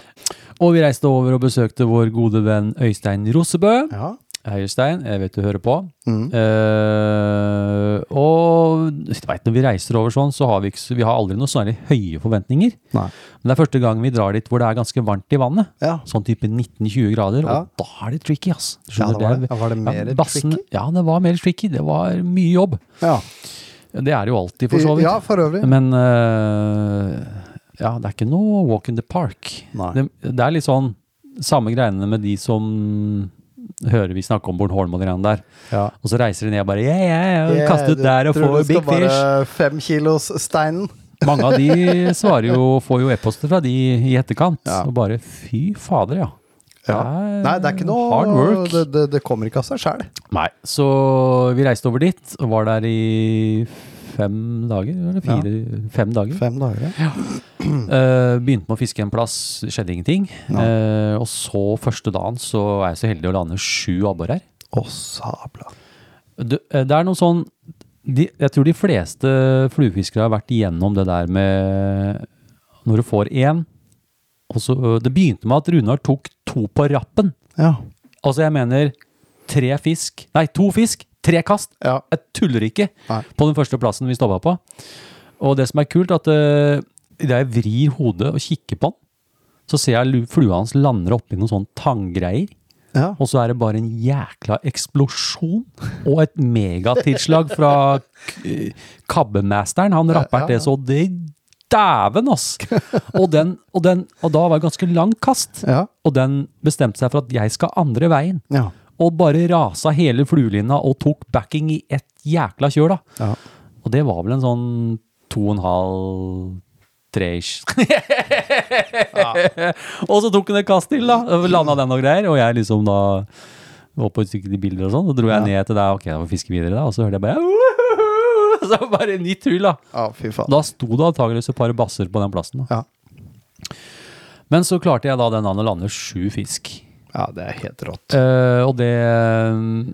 [SPEAKER 1] Og vi reiste over og besøkte vår gode venn Øystein Rosebø.
[SPEAKER 5] ja.
[SPEAKER 1] Hei, Øystein. Jeg vet du hører på.
[SPEAKER 5] Mm.
[SPEAKER 1] Eh, og du vet, når vi reiser over sånn, så har vi, ikke, så- vi har aldri noe særlig høye forventninger.
[SPEAKER 5] Nei.
[SPEAKER 1] Men det er første gang vi drar dit hvor det er ganske varmt i vannet.
[SPEAKER 5] Ja.
[SPEAKER 1] Sånn type 19-20 grader.
[SPEAKER 5] Ja.
[SPEAKER 1] Og da er det tricky, ass. Du
[SPEAKER 5] Ja,
[SPEAKER 1] skjønner,
[SPEAKER 5] det var
[SPEAKER 1] er-
[SPEAKER 5] det. Ja, var det mer tricky?
[SPEAKER 1] Ja, det var mer tricky. Det var mye jobb.
[SPEAKER 5] ja.
[SPEAKER 1] Det er det jo alltid, for så vidt.
[SPEAKER 5] Ja, for øvrig.
[SPEAKER 1] Men eh, ja, det er ikke noe walk in the park.
[SPEAKER 5] Nei.
[SPEAKER 1] Det, det er litt sånn samme greiene med de som hører vi snakke om Bornholm og de greiene der.
[SPEAKER 5] Ja.
[SPEAKER 1] Og så reiser de ned og bare yeah, yeah, og
[SPEAKER 5] Yeah,
[SPEAKER 1] kaster ut
[SPEAKER 5] du
[SPEAKER 1] der og
[SPEAKER 5] tror
[SPEAKER 1] får
[SPEAKER 5] det
[SPEAKER 1] big
[SPEAKER 5] skal
[SPEAKER 1] fish.
[SPEAKER 5] Bare femkilossteinen.
[SPEAKER 1] Mange av de svarer jo, får jo e-poster fra de i etterkant.
[SPEAKER 5] Ja.
[SPEAKER 1] Og bare fy fader, ja.
[SPEAKER 5] Ja. Nei, det er ikke noe
[SPEAKER 1] Hard work.
[SPEAKER 5] Det, det, det kommer ikke av seg sjæl.
[SPEAKER 1] Nei, så vi reiste over dit og var der i fem dager, eller fire, fem dager.
[SPEAKER 5] Fem dager, ja.
[SPEAKER 1] Eh, begynte med å fiske en plass, det skjedde ingenting. Eh, og så første dagen så er jeg så heldig å lande sju abbor her.
[SPEAKER 5] Å, sabla.
[SPEAKER 1] Du, eh, det er noe sånn de, Jeg tror de fleste fluefiskere har vært igjennom det der med Når du får én og så, øh, Det begynte med at Runar tok to på rappen.
[SPEAKER 5] Ja.
[SPEAKER 1] Altså, jeg mener tre fisk Nei, to fisk, tre kast.
[SPEAKER 5] Ja.
[SPEAKER 1] Jeg tuller ikke
[SPEAKER 5] Nei.
[SPEAKER 1] på den første plassen vi stoppa på. Og det som er kult, at øh, idet jeg vrir hodet og kikker på den, så ser jeg lu- flua hans lander oppi noen sånne tanggreier.
[SPEAKER 5] ja.
[SPEAKER 1] Og så er det bare en jækla eksplosjon og et megatilslag fra k- kabbemasteren. Han rapper det så det dæven, ass! Og, den, og, den, og da var det ganske langt kast.
[SPEAKER 5] Ja.
[SPEAKER 1] Og den bestemte seg for at jeg skal andre veien.
[SPEAKER 5] Ja.
[SPEAKER 1] Og bare rasa hele fluelina og tok backing i ett jækla kjør, da.
[SPEAKER 5] Ja.
[SPEAKER 1] Og det var vel en sånn to og en halv tre-ish. og så tok han et kast til, da. Landa den og greier. Og jeg liksom da var på et stykke bilder og sånn. Så dro jeg ned til deg, ok, da må vi fiske videre, da. Og så hørte jeg bare «Woohoo!» Så bare nytt hull, da.
[SPEAKER 5] ja, fy faen.
[SPEAKER 1] Da sto det antageligvis et par basser på den plassen. da.
[SPEAKER 5] Ja.
[SPEAKER 1] Men så klarte jeg da den dagen å lande sju fisk.
[SPEAKER 5] ja, det er helt rått.
[SPEAKER 1] Eh, og det,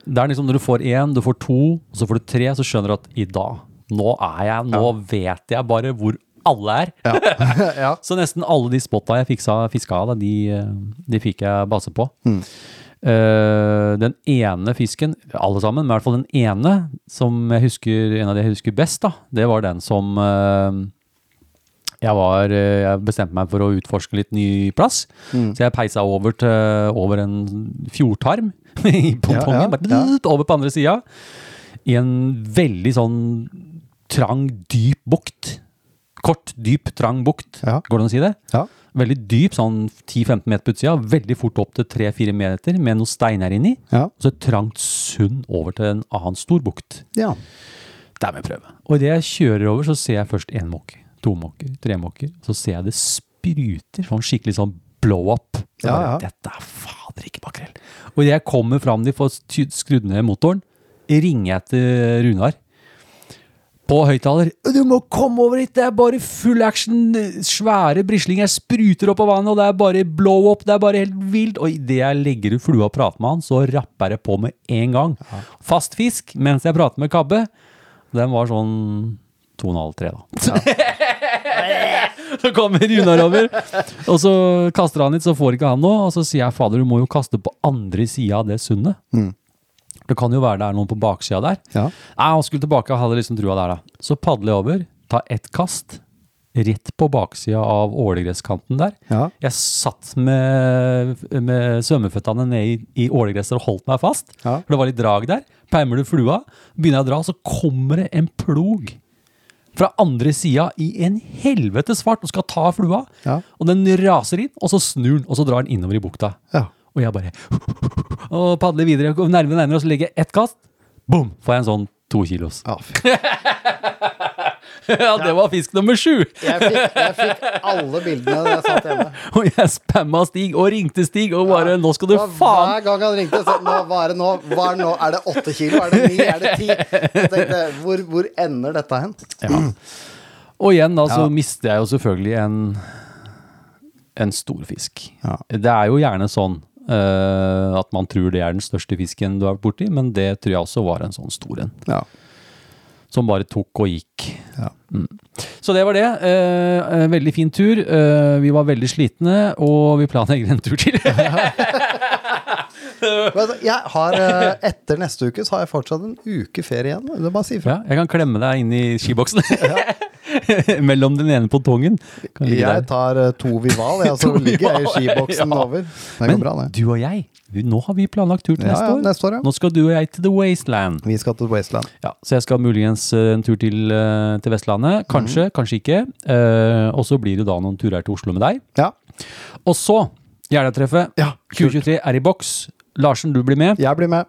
[SPEAKER 1] det er liksom når du får én, du får to, og så får du tre, så skjønner du at i dag, nå er jeg, nå vet jeg bare hvor alle er.
[SPEAKER 5] ja.
[SPEAKER 1] Så nesten alle de spotta jeg fiksa, fiska av, da, de, eh, de fikk jeg base på.
[SPEAKER 5] Mm.
[SPEAKER 1] Eh, den ene fisken, alle sammen, men i hvert fall den ene, som jeg husker, en av de jeg husker best, da, det var den som eh, jeg, var, eh, jeg bestemte meg for å utforske litt ny plass,
[SPEAKER 5] Mm.
[SPEAKER 1] så jeg peisa over, til, over en fjordtarm i
[SPEAKER 5] Ja, ja,
[SPEAKER 1] pongpongen, bare
[SPEAKER 5] ja.
[SPEAKER 1] over på andre sida, i en veldig sånn trang, dyp bukt. Kort, dyp, trang bukt,
[SPEAKER 5] Ja.
[SPEAKER 1] går det an å si det?
[SPEAKER 5] Ja.
[SPEAKER 1] Veldig dyp, sånn 10-15 meter på utsida, veldig fort opp til 3-4 meter med noen steiner inni,
[SPEAKER 5] Ja.
[SPEAKER 1] og så et trangt sund over til en annen stor bukt.
[SPEAKER 5] ja.
[SPEAKER 1] Der må jeg prøve. Og idet jeg kjører over, så ser jeg først én måke, to måker, tre måker. Så ser jeg det spruter, sånn skikkelig sånn blow up. Så
[SPEAKER 5] Ja,
[SPEAKER 1] bare,
[SPEAKER 5] ja.
[SPEAKER 1] Dette er fader ikke makrell. Og idet jeg kommer fram dit for å ty- skru ned motoren, ringer jeg til Runar. På høyttaler. 'Du må komme over hit! Det er bare full action! Svære brislinger spruter opp av vannet, og det er bare blow up! Det er bare helt vilt!' Og idet jeg legger ut flua og prater med han, så rapper jeg på med en gang. Fast fisk mens jeg prater med kabbe. Den var sånn 2,5-3, da. så kommer Runar over, og så kaster han litt, så får ikke han noe. Og så sier jeg fader, du må jo kaste på andre sida av det sundet. Det kan jo være det er noen på baksida der.
[SPEAKER 5] Ja.
[SPEAKER 1] Nei, han skulle tilbake og hadde liksom trua der, da. Så padler jeg over, tar ett kast, rett på baksida av ålegreskanten der.
[SPEAKER 5] Ja.
[SPEAKER 1] Jeg satt med, med svømmeføttene ned i, i ålegresset og holdt meg fast.
[SPEAKER 5] Ja.
[SPEAKER 1] For det var litt drag der. Peimer du flua, begynner jeg å dra, så kommer det en plog fra andre sida i en helvetes fart og skal ta flua.
[SPEAKER 5] Ja.
[SPEAKER 1] Og den raser inn, og så snur den, og så drar den innover i bukta.
[SPEAKER 5] Ja.
[SPEAKER 1] Og jeg bare og padler videre, og nærmere og nærmere, og så legger jeg ett kast. Boom! Får jeg en sånn to kilos.
[SPEAKER 5] ja fy.
[SPEAKER 1] Ja, det var fisk nummer sju!
[SPEAKER 7] Jeg fikk, jeg fikk alle bildene da jeg satt hjemme.
[SPEAKER 1] Og jeg spamma Stig og ringte Stig og bare Nå skal du
[SPEAKER 7] Og
[SPEAKER 1] faen
[SPEAKER 7] Hver gang han ringte, så nå, hva er det nå? Hva er det nå? Er det åtte kilo? Er det ni? Er det ti? Jeg tenkte, hvor, hvor ender dette hen?
[SPEAKER 1] Og igjen da, så mister jeg jo selvfølgelig en, en stor fisk.
[SPEAKER 5] Ja.
[SPEAKER 1] Det er jo gjerne sånn eh, at man tror det er den største fisken du har vært borti, men det tror jeg også var en sånn stor en.
[SPEAKER 5] Ja.
[SPEAKER 1] Som bare tok og gikk.
[SPEAKER 5] Ja.
[SPEAKER 1] Mm. Så det var det. Eh, eh, veldig fin tur. Eh, vi var veldig slitne, og vi planlegger en tur til.
[SPEAKER 5] Men altså, jeg har, eh, etter neste uke så har jeg fortsatt en uke ferie igjen. Det er bare å si
[SPEAKER 1] ja,
[SPEAKER 5] ifra.
[SPEAKER 1] jeg kan klemme deg inn i skiboksen. Mellom den ene pontongen. Kan ligge der.
[SPEAKER 5] Jeg tar eh, to Vival, jeg, så
[SPEAKER 1] To
[SPEAKER 5] ligger jeg i
[SPEAKER 1] Vival,
[SPEAKER 5] skiboksen
[SPEAKER 1] ja.
[SPEAKER 5] over. Det
[SPEAKER 1] Men
[SPEAKER 5] går bra, det.
[SPEAKER 1] du og jeg, vi, nå har vi planlagt tur til
[SPEAKER 5] Ja,
[SPEAKER 1] neste,
[SPEAKER 5] ja,
[SPEAKER 1] år.
[SPEAKER 5] neste år, ja.
[SPEAKER 1] Nå skal du og jeg til The Wasteland.
[SPEAKER 5] Vi skal til Wasteland.
[SPEAKER 1] Ja, så jeg skal muligens eh, en tur til, eh, til Vestlandet. Kanskje,
[SPEAKER 5] Mhm.
[SPEAKER 1] kanskje ikke. Eh, og så blir det da noen turer til Oslo med deg.
[SPEAKER 5] Ja.
[SPEAKER 1] Og så, Jeløya-treffet.
[SPEAKER 5] Ja, kult.
[SPEAKER 1] 2023 er i boks. Larsen, du blir med.
[SPEAKER 5] Jeg blir med.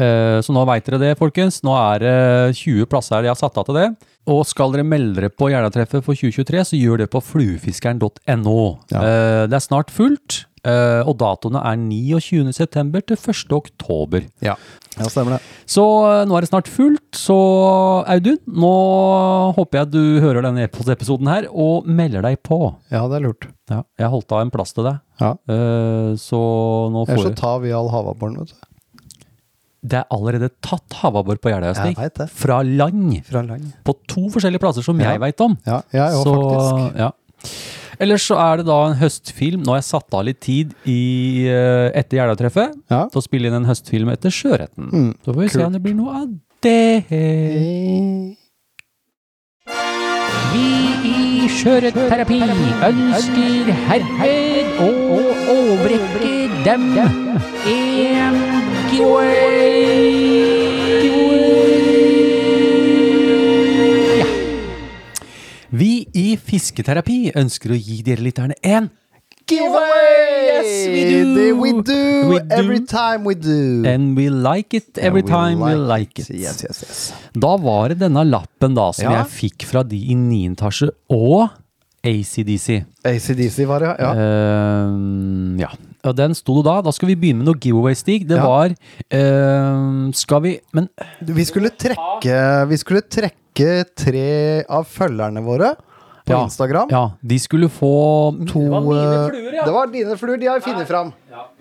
[SPEAKER 1] Eh, så nå veit dere det, folkens. Nå er det 20 plasser jeg har satt av til det. Og skal dere melde dere på Jeløya-treffet for 2023, så gjør det på fluefiskeren.no.
[SPEAKER 5] Ja.
[SPEAKER 1] Eh, det er snart fullt. Eh, og datoene er 29. september til 1. oktober.
[SPEAKER 5] Ja. ja, stemmer det.
[SPEAKER 1] Så eh, nå er det snart fullt. Så Audun, nå håper jeg du hører denne episoden her og melder deg på.
[SPEAKER 5] Ja, det er lurt.
[SPEAKER 1] Ja, jeg holdt av en plass til deg.
[SPEAKER 5] Ja.
[SPEAKER 1] Eh, så nå får
[SPEAKER 5] Ellers så tar vi all havabberen, vet du.
[SPEAKER 1] Det er allerede tatt havabbor på Jeløya
[SPEAKER 5] Jeg
[SPEAKER 1] Stig.
[SPEAKER 5] vet det.
[SPEAKER 1] Fra land.
[SPEAKER 5] Fra land.
[SPEAKER 1] På to forskjellige plasser som
[SPEAKER 5] Ja.
[SPEAKER 1] jeg veit om.
[SPEAKER 5] Ja, jeg òg,
[SPEAKER 1] Så,
[SPEAKER 5] faktisk.
[SPEAKER 1] Ja. Ellers så er det da en høstfilm. Nå har jeg satt av litt tid i, eh, etter Jeløya-treffet
[SPEAKER 5] Ja.
[SPEAKER 1] til å spille inn en høstfilm etter Sjøretten.
[SPEAKER 5] Mm,
[SPEAKER 1] så får vi se
[SPEAKER 5] kult.
[SPEAKER 1] om det blir noe av det. Vi i Sjøretterapi ønsker herved å overrekke dem en giveaway. Vi i Fisketerapi ønsker å gi dere lytterne en giveaway! Yes, we do!
[SPEAKER 5] They we do!
[SPEAKER 1] We do.
[SPEAKER 5] Every time we do!
[SPEAKER 1] And we like it every
[SPEAKER 5] And
[SPEAKER 1] time we like it.
[SPEAKER 5] Yes, yes, yes.
[SPEAKER 1] Da var det denne lappen da som
[SPEAKER 5] Ja.
[SPEAKER 1] jeg fikk fra de i 9. etasje og ACDC.
[SPEAKER 5] ACDC var det,
[SPEAKER 1] Eh.
[SPEAKER 5] ja. ja.
[SPEAKER 1] Ehm, ja. Og den sto det da. Da skal vi begynne med noe giveaway-stig. Det
[SPEAKER 5] Ja.
[SPEAKER 1] var ehm, Skal vi Men
[SPEAKER 5] Vi skulle trekke Vi skulle trekke tre av følgerne våre på
[SPEAKER 1] Ja.
[SPEAKER 5] Instagram.
[SPEAKER 1] ja, de skulle få to eh,
[SPEAKER 5] Det var
[SPEAKER 1] mine fluer, ja.
[SPEAKER 5] Det var dine fluer, de har vi funnet fram.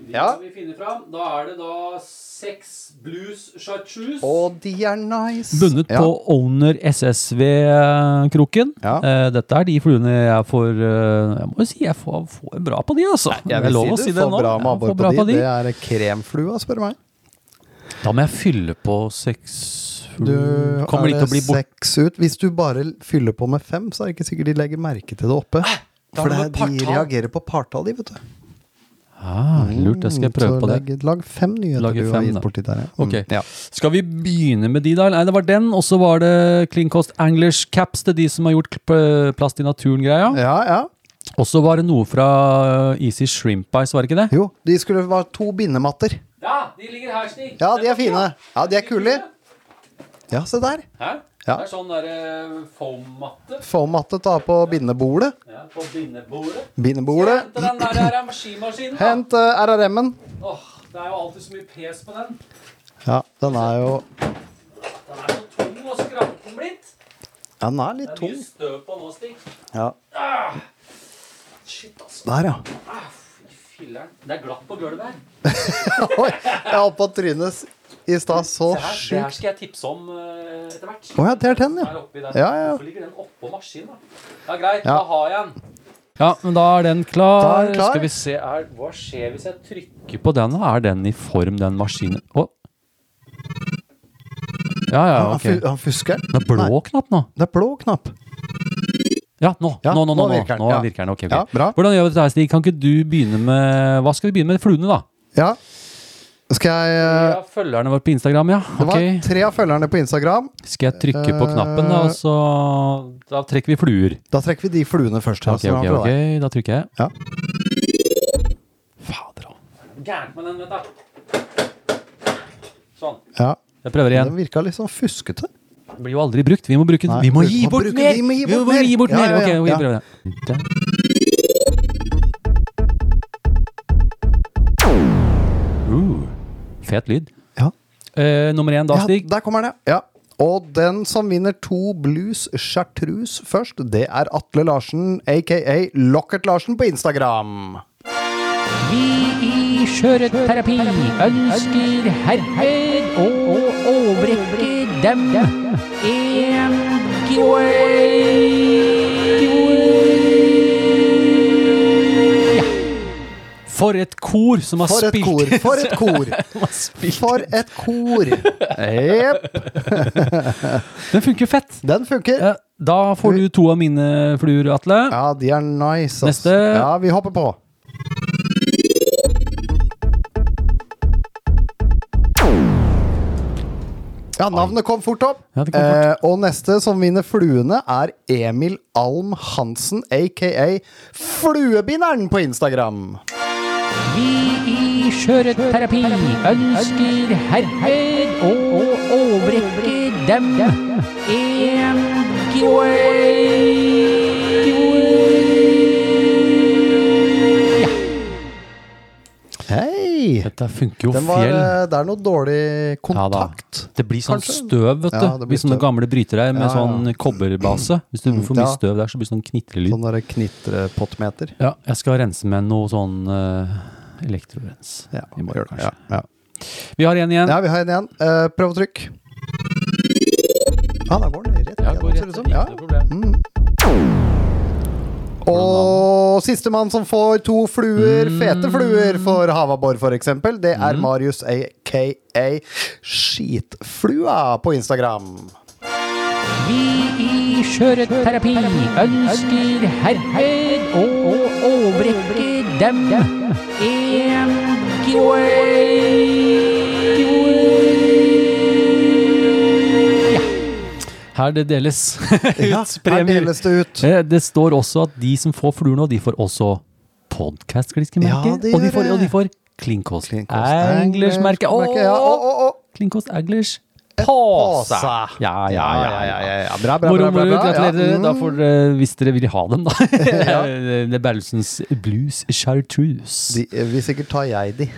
[SPEAKER 5] Ja. skal
[SPEAKER 1] vi finne fram. Da er det da seks blues chartreuse.
[SPEAKER 5] Og de er nice.
[SPEAKER 1] Bundet
[SPEAKER 5] ja.
[SPEAKER 1] på Owner SSV-kroken.
[SPEAKER 5] Ja.
[SPEAKER 1] Eh, dette er de fluene jeg får eh, Jeg må jo si jeg får, får bra på de, altså.
[SPEAKER 5] Jeg vil si, du får bra med
[SPEAKER 1] Jeg
[SPEAKER 5] abbor
[SPEAKER 1] får
[SPEAKER 5] på
[SPEAKER 1] bra
[SPEAKER 5] de. Det er kremflua, spør du meg.
[SPEAKER 1] Da må jeg fylle på seks
[SPEAKER 5] Du
[SPEAKER 1] Mm. Kommer
[SPEAKER 5] er
[SPEAKER 1] de til å
[SPEAKER 5] det
[SPEAKER 1] bli bort...
[SPEAKER 5] seks ut. Hvis du bare fyller på med fem, så er det ikke sikkert de legger merke til det oppe.
[SPEAKER 1] Da
[SPEAKER 5] For det,
[SPEAKER 1] er det
[SPEAKER 5] de
[SPEAKER 1] partall.
[SPEAKER 5] reagerer på partall, de, vet du.
[SPEAKER 1] Ah, lurt, jeg skal
[SPEAKER 5] Mm,
[SPEAKER 1] prøve
[SPEAKER 5] så
[SPEAKER 1] på det.
[SPEAKER 5] Lag, lag fem nyheter
[SPEAKER 1] Lager
[SPEAKER 5] du
[SPEAKER 1] fem,
[SPEAKER 5] har
[SPEAKER 1] da.
[SPEAKER 5] gitt borti der. ja.
[SPEAKER 1] Ok.
[SPEAKER 5] Mm, ja.
[SPEAKER 1] Skal vi begynne med de, da? Nei, det var den, og så var det Clean Cost Anglers Caps til de som har gjort kl- eh, plast i naturen-greia.
[SPEAKER 5] ja, ja.
[SPEAKER 1] Og så var det noe fra eh, Easy Shrimp Ice, var det ikke det?
[SPEAKER 5] Jo, de skulle være to bindematter.
[SPEAKER 1] Ja, de ligger her, Stig.
[SPEAKER 5] Ja, de er fine. Ja, de er kule. Ja, se der.
[SPEAKER 1] Hæ?
[SPEAKER 5] Ja.
[SPEAKER 1] Det er sånn derre foam-matte
[SPEAKER 5] Foam-matte ta på bindebordet.
[SPEAKER 1] ja, på bindebordet.
[SPEAKER 5] Bindebordet.
[SPEAKER 1] Hente den der her skimaskinen, da.
[SPEAKER 5] Hent eh, RRM-en.
[SPEAKER 1] Åh, det er jo alltid så mye pes på den.
[SPEAKER 5] Ja, den er jo
[SPEAKER 1] Den er så tung og skranken blitt.
[SPEAKER 5] ja, Den er litt
[SPEAKER 1] Det er
[SPEAKER 5] tung.
[SPEAKER 1] mye støv på nå, Stig.
[SPEAKER 5] Ja.
[SPEAKER 1] Shit, altså.
[SPEAKER 5] Der, ja.
[SPEAKER 1] Filleren. Det er glatt på gulvet her.
[SPEAKER 5] Oi, jeg holdt på å trynes i stad så
[SPEAKER 1] Det her, det her
[SPEAKER 5] sjukt.
[SPEAKER 1] skal jeg tipse om eh, etter hvert.
[SPEAKER 5] Å ja, det er den, ja.
[SPEAKER 1] Her oppi der.
[SPEAKER 5] Ja, ja.
[SPEAKER 1] Hvorfor ligger den oppå maskinen, da? Ja, greit, da
[SPEAKER 5] Ja.
[SPEAKER 1] har jeg den. Ja, men da er den klar.
[SPEAKER 5] Da er den klar.
[SPEAKER 1] Skal vi se, er, Hva skjer hvis jeg trykker på den? da? Er den i form, den maskinen? Å. Ja, ja,
[SPEAKER 5] Han,
[SPEAKER 1] ok.
[SPEAKER 5] fu- han fusker.
[SPEAKER 1] Det er blå knapp nå.
[SPEAKER 5] Det er blå knapp.
[SPEAKER 1] Ja, nå.
[SPEAKER 5] Ja,
[SPEAKER 1] nå, nå, nå,
[SPEAKER 5] nå
[SPEAKER 1] nå,
[SPEAKER 5] virker den.
[SPEAKER 1] nå
[SPEAKER 5] Ja.
[SPEAKER 1] virker den. Ok, ok.
[SPEAKER 5] Ja, bra.
[SPEAKER 1] Hvordan gjør vi dette, her, Stig? Kan ikke du begynne med Hva skal vi begynne med? Fluene, da?
[SPEAKER 5] Ja. Skal jeg eh,
[SPEAKER 1] Ja, følgerne våre på Instagram, ja.
[SPEAKER 5] Det var
[SPEAKER 1] Ok.
[SPEAKER 5] tre av følgerne på Instagram.
[SPEAKER 1] Skal jeg trykke på
[SPEAKER 5] Eh,
[SPEAKER 1] knappen, da, og så Da trekker vi fluer.
[SPEAKER 5] Da trekker vi de fluene først. her,
[SPEAKER 1] Ok,
[SPEAKER 5] som
[SPEAKER 1] ok,
[SPEAKER 5] er fra
[SPEAKER 1] ok,
[SPEAKER 5] deg.
[SPEAKER 1] da trykker jeg.
[SPEAKER 5] Ja.
[SPEAKER 1] Fader òg. Gærent med den, vet du. Sånn.
[SPEAKER 5] Ja.
[SPEAKER 1] Jeg prøver igjen.
[SPEAKER 5] Den virka litt sånn fuskete.
[SPEAKER 1] Den blir jo aldri brukt. Vi må bruke den.
[SPEAKER 5] Nei,
[SPEAKER 1] Vi må
[SPEAKER 5] vi
[SPEAKER 1] gi
[SPEAKER 5] må
[SPEAKER 1] bort
[SPEAKER 5] bruke-
[SPEAKER 1] mer!
[SPEAKER 5] vi må gi bort
[SPEAKER 1] må
[SPEAKER 5] mer.
[SPEAKER 1] gi bort
[SPEAKER 5] Ja,
[SPEAKER 1] mer.
[SPEAKER 5] ja, ja,
[SPEAKER 1] Ok, vi
[SPEAKER 5] ja.
[SPEAKER 1] prøver det. Uh, fet lyd.
[SPEAKER 5] Ja.
[SPEAKER 1] Eh, nummer én da,
[SPEAKER 5] Ja,
[SPEAKER 1] Stig.
[SPEAKER 5] der kommer den, ja. ja. Og den som vinner to blues chartreuse først, det er Atle Larsen, aka Lockert Larsen, på Instagram.
[SPEAKER 2] Vi i Sjøretterapi ønsker herved å overrekke dem en
[SPEAKER 1] For et kor som har
[SPEAKER 5] For et
[SPEAKER 1] spilt
[SPEAKER 5] kor! For et kor!
[SPEAKER 1] som har spilt.
[SPEAKER 5] For et kor! Jepp.
[SPEAKER 1] Den funker fett.
[SPEAKER 5] Den funker.
[SPEAKER 1] Eh, Da får du to av mine fluer, Atle.
[SPEAKER 5] Ja, de er nice. ass.
[SPEAKER 1] Neste.
[SPEAKER 5] Ja, vi hopper på. Ja, navnet kom fort opp.
[SPEAKER 1] Ja, det kom fort.
[SPEAKER 5] Eh, og neste som vinner fluene, er Emil Alm Hansen, aka Fluebinderen på Instagram.
[SPEAKER 2] Vi i Sjøretterapi ønsker herved å overrekke dem en giveaway.
[SPEAKER 1] Dette funker jo
[SPEAKER 5] Den var,
[SPEAKER 1] fjell.
[SPEAKER 5] eh, det er noe dårlig
[SPEAKER 1] Ja da.
[SPEAKER 5] kontakt.
[SPEAKER 1] Det blir sånn
[SPEAKER 5] kanskje?
[SPEAKER 1] støv, vet du.
[SPEAKER 5] Ja, det blir
[SPEAKER 1] Hvis sånne
[SPEAKER 5] støv.
[SPEAKER 1] gamle brytere her med
[SPEAKER 5] Ja, ja.
[SPEAKER 1] sånn kobberbase. Hvis det blir for
[SPEAKER 5] Mm,
[SPEAKER 1] mye
[SPEAKER 5] ja.
[SPEAKER 1] støv der, så blir det sånn knitrelyd.
[SPEAKER 5] Sånn derre knitrepottmeter.
[SPEAKER 1] Ja, jeg skal rense med noe sånn eh, elektrorens.
[SPEAKER 5] Ja,
[SPEAKER 1] i morgen,
[SPEAKER 5] gjør det.
[SPEAKER 1] kanskje.
[SPEAKER 5] Ja, ja.
[SPEAKER 1] Vi har en igjen.
[SPEAKER 5] ja, vi har en igjen. Eh, prøv å trykke. Ja, der går den rett
[SPEAKER 1] Ja, går
[SPEAKER 5] igjennom,
[SPEAKER 1] rett,
[SPEAKER 5] ser det ut som.
[SPEAKER 1] ikke
[SPEAKER 5] Ja. Mm.
[SPEAKER 1] noe problem.
[SPEAKER 5] Og sistemann som får to fluer, fete fluer, for havabbor, for eksempel, det
[SPEAKER 1] Mhm.
[SPEAKER 5] er Marius aka Skitflua på Instagram.
[SPEAKER 2] Vi i Skjøreterapi ønsker herved å overrekke dem en giveaway.
[SPEAKER 1] Her det deles
[SPEAKER 5] Ja,
[SPEAKER 1] ut
[SPEAKER 5] her
[SPEAKER 1] premier.
[SPEAKER 5] deles det ut.
[SPEAKER 1] Eh, Det står også at de som får fluer nå, de får også podcast-klistremerker.
[SPEAKER 5] Ja, det
[SPEAKER 1] og, de
[SPEAKER 5] gjør
[SPEAKER 1] får-
[SPEAKER 5] det.
[SPEAKER 1] og de får Klinkost
[SPEAKER 5] eh, Merke.
[SPEAKER 1] Anglers-merke.
[SPEAKER 5] Ja, og, og, og.
[SPEAKER 1] Klinkost Anglers. Påse!
[SPEAKER 5] påse.
[SPEAKER 1] Ja, ja, ja. ja, ja.
[SPEAKER 5] ja. Bra, bra,
[SPEAKER 1] Moro,
[SPEAKER 5] bra. bra,
[SPEAKER 1] moro.
[SPEAKER 5] bra.
[SPEAKER 1] Gratulerer.
[SPEAKER 5] Ja, Mm.
[SPEAKER 1] Da får dere, hvis dere vil ha dem, da. Det er Berlsens Blues Chartreuse. Å
[SPEAKER 5] De, vil sikkert ta jeg de.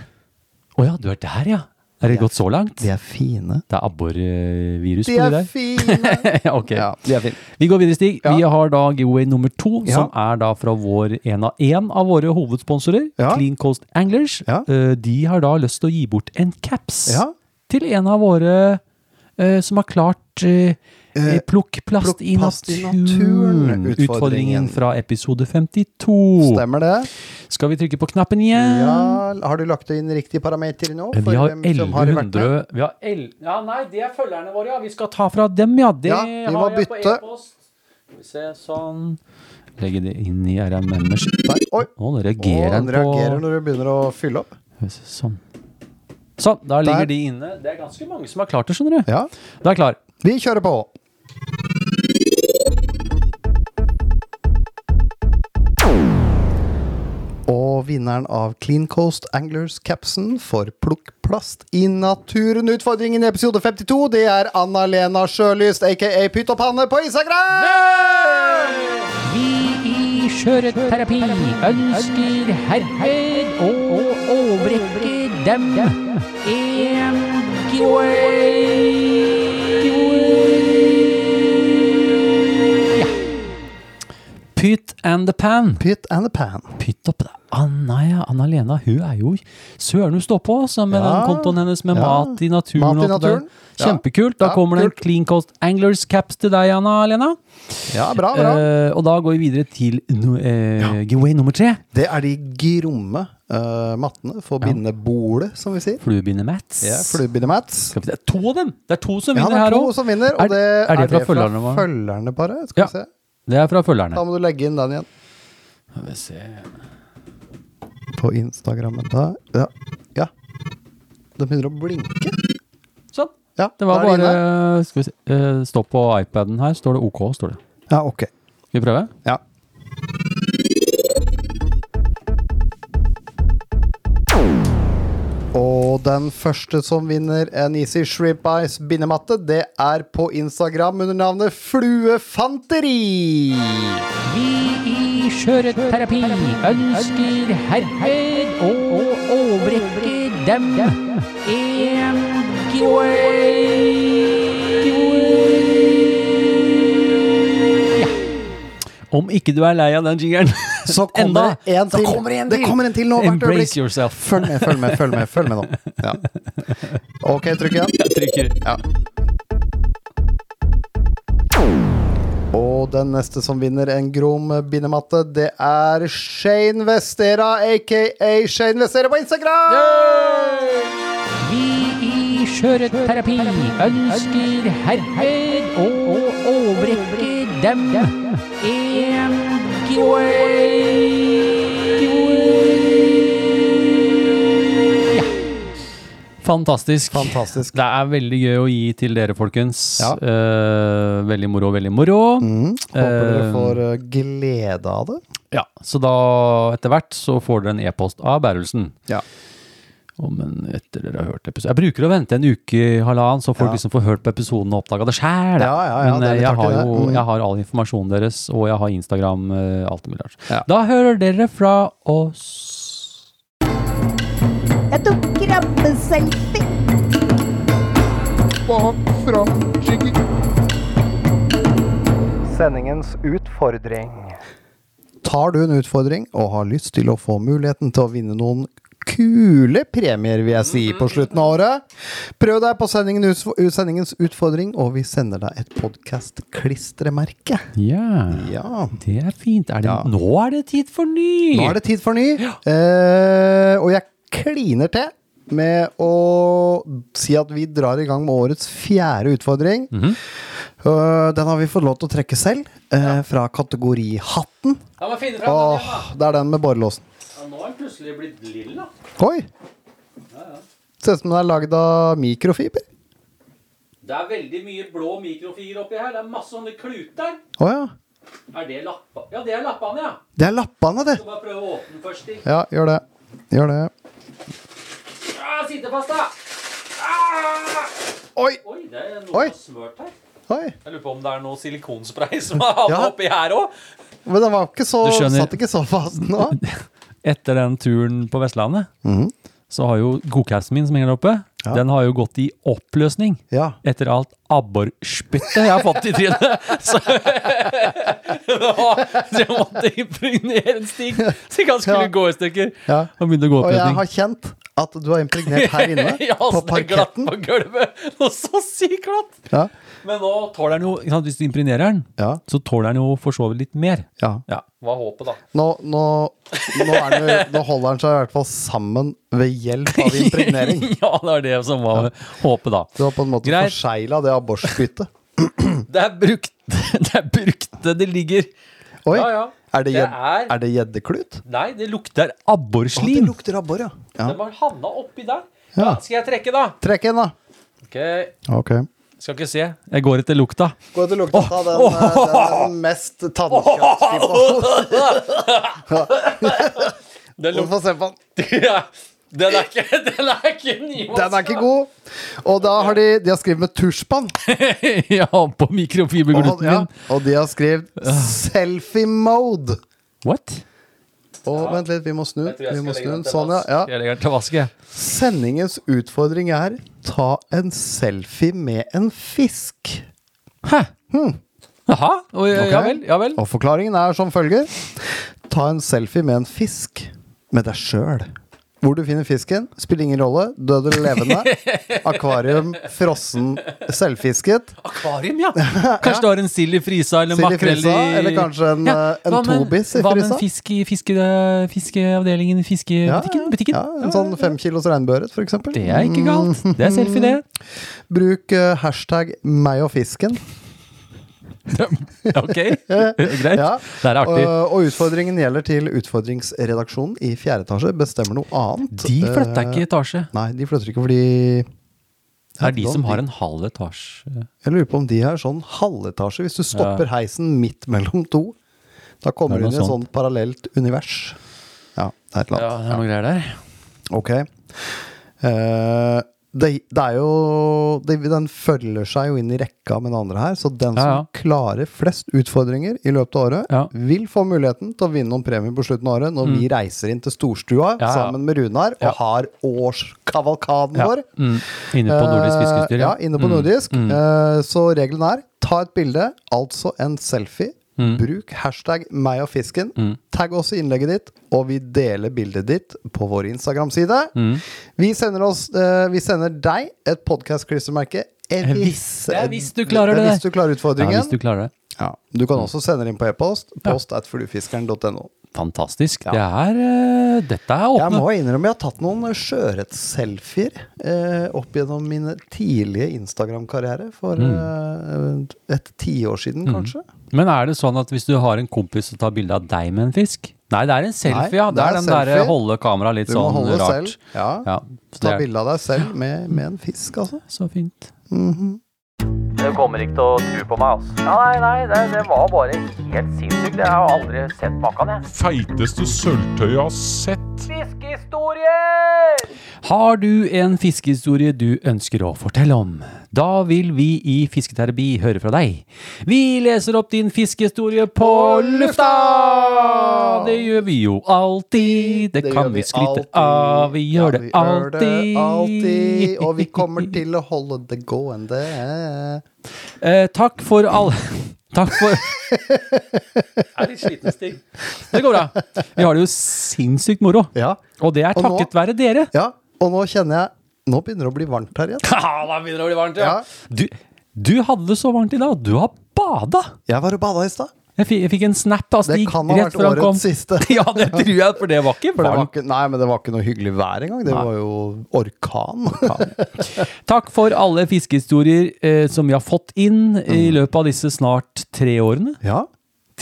[SPEAKER 1] ja, du er der, ja. Er det gått så langt?
[SPEAKER 5] De er fine.
[SPEAKER 1] Det er abborvirus på
[SPEAKER 5] De
[SPEAKER 1] de
[SPEAKER 5] er
[SPEAKER 1] der?
[SPEAKER 5] fine!
[SPEAKER 1] ja, ok.
[SPEAKER 5] Ja, de er fine.
[SPEAKER 1] Vi går videre, Stig. Vi
[SPEAKER 5] Ja.
[SPEAKER 1] har da giveaway nummer to,
[SPEAKER 5] Ja.
[SPEAKER 1] som er da fra vår en av en av våre hovedsponsorer,
[SPEAKER 5] Ja.
[SPEAKER 1] Clean Coast Anglers.
[SPEAKER 5] Ja.
[SPEAKER 1] Eh, De har da lyst til å gi bort en caps
[SPEAKER 5] Ja.
[SPEAKER 1] til en av våre eh, som har klart eh, eh, Plukk plast,
[SPEAKER 5] plukk
[SPEAKER 1] i
[SPEAKER 5] plast i
[SPEAKER 1] naturen.
[SPEAKER 5] naturen,
[SPEAKER 1] Utfordringen
[SPEAKER 5] utfordringen.
[SPEAKER 1] fra episode 52. Oh.
[SPEAKER 5] Stemmer det?
[SPEAKER 1] Skal vi trykke på knappen igjen?
[SPEAKER 5] Ja, har du lagt inn riktige parametere nå?
[SPEAKER 1] Eh, Vi
[SPEAKER 5] for
[SPEAKER 1] har
[SPEAKER 5] hvem som har vært med?
[SPEAKER 1] 1100 vi har el Ja, nei, det er følgerne våre, ja. Vi skal ta fra dem, ja. Det
[SPEAKER 5] Ja, vi må
[SPEAKER 1] har jeg
[SPEAKER 5] bytte.
[SPEAKER 1] på e-post. Skal vi se, sånn. Legge det inn i RMM-ers
[SPEAKER 5] Nei, Oi!
[SPEAKER 1] Å, det
[SPEAKER 5] Å,
[SPEAKER 1] reagerer
[SPEAKER 5] den
[SPEAKER 1] den
[SPEAKER 5] reagerer
[SPEAKER 1] på
[SPEAKER 5] når du begynner å fylle opp.
[SPEAKER 1] Skal vi se, Sånn. Sånn, da ligger
[SPEAKER 5] Der.
[SPEAKER 1] de inne. Det er ganske mange som har klart det, skjønner du.
[SPEAKER 5] Ja.
[SPEAKER 1] Da er jeg klar.
[SPEAKER 5] Vi kjører på. Og vinneren av Clean Coast Anglers Capsen for Plukk plast i naturen-utfordringen i episode 52, det er Anna-Lena Sjølyst, aka Pytt og panne, på Instagram!
[SPEAKER 2] Vi i Skjøreterapi ønsker herved å overrekke dem en giveaway.
[SPEAKER 1] Pytt and the pan.
[SPEAKER 5] Pytt and the pan.
[SPEAKER 1] Pytt opp det. Anna, ja. Anna-Lena, hun er jo Søren, hun står på altså, med
[SPEAKER 5] Ja.
[SPEAKER 1] den kontoen hennes med
[SPEAKER 5] Ja.
[SPEAKER 1] mat i naturen.
[SPEAKER 5] Mat i
[SPEAKER 1] og alt det der.
[SPEAKER 5] naturen. Ja.
[SPEAKER 1] Kjempekult. Da
[SPEAKER 5] Ja,
[SPEAKER 1] kommer det en
[SPEAKER 5] kult.
[SPEAKER 1] Clean Coast Anglers caps til deg, Anna-Lena.
[SPEAKER 5] Ja, bra, bra.
[SPEAKER 1] Eh, og da går vi videre til no, eh, giveaway nummer tre.
[SPEAKER 5] Det er de gromme eh, mattene for bindebordet, som vi sier.
[SPEAKER 1] Fluebinde Mats.
[SPEAKER 5] Ja, Fluebindemats.
[SPEAKER 1] Skal vi se, To av dem! Det er to som
[SPEAKER 5] Ja, det
[SPEAKER 1] vinner her
[SPEAKER 5] er to
[SPEAKER 1] òg.
[SPEAKER 5] som vinner, og
[SPEAKER 1] Er-
[SPEAKER 5] det
[SPEAKER 1] er det fra følgerne våre?
[SPEAKER 5] følgerne bare. Skal
[SPEAKER 1] Ja.
[SPEAKER 5] vi se.
[SPEAKER 1] Det er fra
[SPEAKER 5] Da
[SPEAKER 1] følgerne.
[SPEAKER 5] må du legge inn den igjen.
[SPEAKER 1] Skal vi se.
[SPEAKER 5] På Instagrammen der. Ja. ja. Den begynner å blinke.
[SPEAKER 1] Sånn.
[SPEAKER 5] Ja,
[SPEAKER 1] Det var
[SPEAKER 5] da er
[SPEAKER 1] bare
[SPEAKER 5] inne.
[SPEAKER 1] Skal vi se. eh, stå på iPaden her. Står det OK? Står det.
[SPEAKER 5] Ja, ok.
[SPEAKER 1] Skal vi prøve?
[SPEAKER 5] Ja. Og den første som vinner en Easy Shrimp Eyes bindematte, det er på Instagram under navnet Fluefanteri.
[SPEAKER 2] Vi i Skjøreterapi ønsker herved å overrekke dem en giveaway.
[SPEAKER 1] Om ikke du er lei av den jingeren
[SPEAKER 5] Så
[SPEAKER 1] Enda.
[SPEAKER 5] kommer det en
[SPEAKER 1] Så
[SPEAKER 5] til.
[SPEAKER 1] kommer det en til.
[SPEAKER 5] kommer en til nå, hvert øyeblikk.
[SPEAKER 1] Embrace yourself.
[SPEAKER 5] Følg med, følg med, følg med, følg med nå. Ja. Ok, trykk igjen.
[SPEAKER 1] Jeg trykker.
[SPEAKER 5] Ja. Og den neste som vinner en grom bindematte, det er Shane Vestera, aka Shane Vestera på Instagram!
[SPEAKER 2] Vi i Skjøreterapi ønsker herved å overrekke dem en giveaway.
[SPEAKER 1] Fantastisk.
[SPEAKER 5] Fantastisk.
[SPEAKER 1] Det er veldig gøy å gi til dere, folkens.
[SPEAKER 5] Ja.
[SPEAKER 1] Eh, veldig moro, veldig moro.
[SPEAKER 5] Mm, håper dere
[SPEAKER 1] Eh,
[SPEAKER 5] får eh, glede av det.
[SPEAKER 1] Ja, Så da, etter hvert, så får dere en e-post av Bærelsen.
[SPEAKER 5] Ja.
[SPEAKER 1] Å, men etter dere har hørt episoden Jeg bruker å vente en uke, halvannen, så folk
[SPEAKER 5] Ja.
[SPEAKER 1] liksom får hørt på episoden og oppdaga det sjæl.
[SPEAKER 5] Ja, ja, ja,
[SPEAKER 1] men
[SPEAKER 5] det er
[SPEAKER 1] eh,
[SPEAKER 5] litt
[SPEAKER 1] jeg har
[SPEAKER 5] artig,
[SPEAKER 1] jo
[SPEAKER 5] det. Mm.
[SPEAKER 1] jeg har all informasjonen deres, og jeg har Instagram, eh, alt det mulig rart.
[SPEAKER 5] Ja.
[SPEAKER 1] Da hører dere fra oss.
[SPEAKER 8] Jeg tok krabbeselfie.
[SPEAKER 4] Sendingens utfordring.
[SPEAKER 5] Tar du en utfordring og har lyst til å få muligheten til å vinne noen kule premier, vil jeg si, på slutten av året, prøv deg på sendingen ut, sendingens utfordring, og vi sender deg et podkast-klistremerke.
[SPEAKER 1] Ja.
[SPEAKER 5] Ja.
[SPEAKER 1] Det er fint. Er det,
[SPEAKER 5] Ja.
[SPEAKER 1] Nå er det tid for ny!
[SPEAKER 5] Nå er det tid for ny, eh, og jeg kliner til med å si at vi drar i gang med årets fjerde utfordring.
[SPEAKER 1] Mhm.
[SPEAKER 5] Eh, den har vi fått lov til å trekke selv, eh, fra kategori Hatten.
[SPEAKER 1] Da må jeg finne fram den
[SPEAKER 5] Åh,
[SPEAKER 1] igjen,
[SPEAKER 5] det er den med borrelåsen.
[SPEAKER 1] da. Ja, Nå er den plutselig blitt lilla.
[SPEAKER 5] Oi! Ser ut som den er lagd av mikrofiber.
[SPEAKER 1] Det er veldig mye blå mikrofiber oppi her. Det er masse sånne kluter.
[SPEAKER 5] Å ja.
[SPEAKER 1] Er det lappa? Ja, det er lappene, ja.
[SPEAKER 5] Det er lappene, det.
[SPEAKER 1] Skal bare prøve å åpne først. Stig.
[SPEAKER 5] Ja, gjør det. Gjør det.
[SPEAKER 1] Ah, sitte fast, da! Ah!
[SPEAKER 5] Oi!
[SPEAKER 1] Oi, det er noe
[SPEAKER 5] Oi.
[SPEAKER 1] smørt her.
[SPEAKER 5] Oi!
[SPEAKER 1] Jeg lurer på om det er noe silikonspray som har havnet
[SPEAKER 5] Ja.
[SPEAKER 1] oppi her òg.
[SPEAKER 5] Men den var ikke så,
[SPEAKER 1] Du skjønner.
[SPEAKER 5] satt ikke så fast nå.
[SPEAKER 1] Etter den turen på Vestlandet,
[SPEAKER 5] Mhm.
[SPEAKER 1] så har jo godcasten min som henger der oppe, den har jo gått i oppløsning.
[SPEAKER 5] Ja.
[SPEAKER 1] Etter alt abborspyttet jeg har fått i trynet. Så Så jeg måtte impregnere en stig, så ikke han skulle
[SPEAKER 5] Ja.
[SPEAKER 1] gå i stykker.
[SPEAKER 5] Ja.
[SPEAKER 1] Han begynte å gå i
[SPEAKER 5] Og jeg
[SPEAKER 1] oppløsning.
[SPEAKER 5] har kjent at du har impregnert her inne,
[SPEAKER 1] Ja,
[SPEAKER 5] på
[SPEAKER 1] så det er glatt
[SPEAKER 5] parketten.
[SPEAKER 1] På gulvet. Og så sykt glatt!
[SPEAKER 5] Ja.
[SPEAKER 1] Men nå tåler den jo ikke sant, Hvis du impregnerer den,
[SPEAKER 5] Ja.
[SPEAKER 1] så tåler den jo for så vidt litt mer.
[SPEAKER 5] ja.
[SPEAKER 1] Ja. Hva er håpet, da?
[SPEAKER 5] Nå, nå, nå, er det, nå holder den seg i hvert fall sammen ved hjelp av impregnering.
[SPEAKER 1] ja, det er det som var håpet, da.
[SPEAKER 5] Du har på en måte
[SPEAKER 1] Greit.
[SPEAKER 5] forsegla det abborspyttet.
[SPEAKER 1] Det er brukte det, er brukte det ligger
[SPEAKER 5] Oi!
[SPEAKER 1] Ja, ja.
[SPEAKER 5] Er det
[SPEAKER 1] Det
[SPEAKER 5] gjed-
[SPEAKER 1] er-
[SPEAKER 5] er det gjeddeklut?
[SPEAKER 1] Nei, det lukter
[SPEAKER 5] Å, det
[SPEAKER 1] abborslim.
[SPEAKER 5] lukter abbor, ja.
[SPEAKER 1] Den
[SPEAKER 5] ja.
[SPEAKER 1] var havna oppi der.
[SPEAKER 5] Ja.
[SPEAKER 1] Ja, skal jeg trekke, da?
[SPEAKER 5] Trekk inn, da.
[SPEAKER 1] Ok,
[SPEAKER 5] Ok.
[SPEAKER 1] Skal ikke se. Jeg går etter lukta.
[SPEAKER 5] Gå til lukta av den, eh, den mest tannkjøttskipa.
[SPEAKER 1] Den,
[SPEAKER 5] Du
[SPEAKER 1] luk
[SPEAKER 5] får se på den.
[SPEAKER 1] den er ikke Den er ikke
[SPEAKER 5] Den er ikke god. Og da har de, de har skrevet med tusjpann.
[SPEAKER 1] ja, på
[SPEAKER 5] Og,
[SPEAKER 1] mikrofibergluten
[SPEAKER 5] ja,
[SPEAKER 1] min.
[SPEAKER 5] og de har skrevet
[SPEAKER 1] Ah.
[SPEAKER 5] 'selfie mode'.
[SPEAKER 1] What?
[SPEAKER 5] Å, vent litt, vi må snu.
[SPEAKER 1] Jeg tror jeg
[SPEAKER 5] Vi må
[SPEAKER 1] skal
[SPEAKER 5] snu.
[SPEAKER 1] legge den
[SPEAKER 5] den.
[SPEAKER 1] til
[SPEAKER 5] Sånn, ja. ja.
[SPEAKER 1] Jeg legger den til vask, jeg.
[SPEAKER 5] Sendingens utfordring er ta en selfie med en fisk.
[SPEAKER 1] Hæ? Jaha? Oi, oi, Ja
[SPEAKER 5] Ok.
[SPEAKER 1] vel. Ja vel.
[SPEAKER 5] Og forklaringen er som følger. Ta en selfie med en fisk. Med deg sjøl. Hvor du finner fisken, spiller ingen rolle. Død eller levende. Akvarium, frossen, selvfisket.
[SPEAKER 1] Akvarium, ja. Kanskje du har en sild i frysa eller
[SPEAKER 5] Sild i
[SPEAKER 1] makrell i
[SPEAKER 5] frysa, eller kanskje en, eh, en
[SPEAKER 1] hva med-
[SPEAKER 5] tobis i
[SPEAKER 1] Hva med
[SPEAKER 5] frysa?
[SPEAKER 1] en fisk i fiske, fiskeavdelingen i fiskebutikken? Butikken?
[SPEAKER 5] Ja, en sånn fem kilos regnbueret, for eksempel. Mm.
[SPEAKER 1] Det er ikke galt. Det er selfie, det.
[SPEAKER 5] Bruk eh, hashtag meg og fisken.
[SPEAKER 1] Ok, greit.
[SPEAKER 5] Mm. Ja. Eh,
[SPEAKER 1] Det er artig.
[SPEAKER 5] Og, og utfordringen gjelder til utfordringsredaksjonen i fjerde etasje. Bestemmer noe annet.
[SPEAKER 1] De flytta ikke
[SPEAKER 5] Eh,
[SPEAKER 1] etasje.
[SPEAKER 5] Nei, de flytter ikke fordi
[SPEAKER 1] Det er de som har en halv etasje.
[SPEAKER 5] Jeg lurer på om de er sånn halvetasje, hvis du stopper heisen midt mellom to. Da kommer
[SPEAKER 1] Det er
[SPEAKER 5] du
[SPEAKER 1] noe
[SPEAKER 5] inn i et sånt
[SPEAKER 1] sånt.
[SPEAKER 5] parallelt univers. Ja, det er et eller
[SPEAKER 1] Ja,
[SPEAKER 5] annet.
[SPEAKER 1] det er noe greier der.
[SPEAKER 5] Ok. Eh, det, det er jo det, Den følger seg jo inn i rekka med den andre her, så den som
[SPEAKER 1] Ja, ja.
[SPEAKER 5] klarer flest utfordringer i løpet av året,
[SPEAKER 1] Ja. Mm.
[SPEAKER 5] vil få muligheten til å vinne noen premier på slutten av året når vi reiser inn til storstua
[SPEAKER 1] ja.
[SPEAKER 5] sammen med Runar og
[SPEAKER 1] Ja.
[SPEAKER 5] har årskavalkaden
[SPEAKER 1] Ja.
[SPEAKER 5] vår.
[SPEAKER 1] Mm. Inne på Nordisk
[SPEAKER 5] Eh,
[SPEAKER 1] fiskeutstyr. Mm.
[SPEAKER 5] Ja, inne på nordisk. Eh, så regelen er ta et bilde, altså en selfie.
[SPEAKER 1] Mm.
[SPEAKER 5] Bruk hashtag meg og fisken. Tagg oss i innlegget ditt, og vi deler bildet ditt på vår Instagram-side.
[SPEAKER 1] Mm.
[SPEAKER 5] Vi, sender oss, eh, vi sender deg et podkast-klistremerke. eh,
[SPEAKER 1] Eh,
[SPEAKER 5] Hvis,
[SPEAKER 1] det er hvis du klarer
[SPEAKER 5] er
[SPEAKER 1] det.
[SPEAKER 5] Hvis du klarer
[SPEAKER 1] Ja,
[SPEAKER 5] utfordringen.
[SPEAKER 1] hvis du klarer det.
[SPEAKER 5] Ja. du kan også sende det inn på e-post. Post at fluefiskeren.no.
[SPEAKER 1] Fantastisk. Det er eh, Dette er
[SPEAKER 5] Jeg
[SPEAKER 1] åpne.
[SPEAKER 5] må innrømme jeg har tatt noen sjøørretselfier eh, opp gjennom min tidlige Instagram-karriere for
[SPEAKER 1] Mm.
[SPEAKER 5] eh, et tiår siden, kanskje.
[SPEAKER 1] Men er det sånn at hvis du har en kompis som tar bilde av deg med en fisk Nei, det er en selfie,
[SPEAKER 5] Nei,
[SPEAKER 1] ja. Det
[SPEAKER 5] det
[SPEAKER 1] er
[SPEAKER 5] er
[SPEAKER 1] den derre
[SPEAKER 5] selfie.
[SPEAKER 1] holde kameraet litt
[SPEAKER 5] Du
[SPEAKER 1] sånn
[SPEAKER 5] må holde
[SPEAKER 1] rart.
[SPEAKER 5] selv. Ja.
[SPEAKER 1] Ja, så
[SPEAKER 5] Ta
[SPEAKER 1] det er
[SPEAKER 5] bilde av deg selv med, med en fisk, altså.
[SPEAKER 1] så fint.
[SPEAKER 2] Du kommer ikke til å tro på meg, altså. Nei, nei, det, det var bare helt sinnssykt. Jeg har aldri sett maken, jeg.
[SPEAKER 3] Feiteste sølvtøyet jeg har sett.
[SPEAKER 2] Fiskehistorier!
[SPEAKER 1] Har du en fiskehistorie du ønsker å fortelle om? Da vil vi i Fisketerapi høre fra deg. Vi leser opp din fiskehistorie på lufta! Det gjør vi jo alltid. Det,
[SPEAKER 7] Det
[SPEAKER 1] kan
[SPEAKER 7] gjør
[SPEAKER 1] vi skryte
[SPEAKER 7] alltid.
[SPEAKER 1] av. Vi
[SPEAKER 7] Ja,
[SPEAKER 1] gjør det alltid.
[SPEAKER 7] alltid. Og vi kommer til å holde det gående.
[SPEAKER 1] Eh, takk for alle Takk for Jeg er litt sliten, Stig. Det går bra. Vi har det jo sinnssykt moro.
[SPEAKER 7] Ja.
[SPEAKER 1] Og det er
[SPEAKER 7] Og nå-
[SPEAKER 1] takket være dere.
[SPEAKER 7] ja. Og nå kjenner jeg Nå begynner det å bli varmt her igjen.
[SPEAKER 1] Haha, da begynner det å bli varmt, ja.
[SPEAKER 7] Ja.
[SPEAKER 1] Du, du hadde det så varmt i dag. Du har bada.
[SPEAKER 7] Jeg var og bada i stad.
[SPEAKER 1] Jeg fikk, jeg fikk en snap av
[SPEAKER 7] Det
[SPEAKER 1] Stig
[SPEAKER 7] kan ha
[SPEAKER 1] rett
[SPEAKER 7] vært
[SPEAKER 1] før han kom.
[SPEAKER 7] årets siste.
[SPEAKER 1] ja, det tror jeg, for det var ikke
[SPEAKER 7] For det var
[SPEAKER 1] varmt.
[SPEAKER 7] ikke, nei, men det var ikke noe hyggelig vær engang. Det var jo orkan.
[SPEAKER 1] Takk for alle fiskehistorier eh, som vi har fått inn i løpet av disse snart tre årene.
[SPEAKER 7] Mm. ja.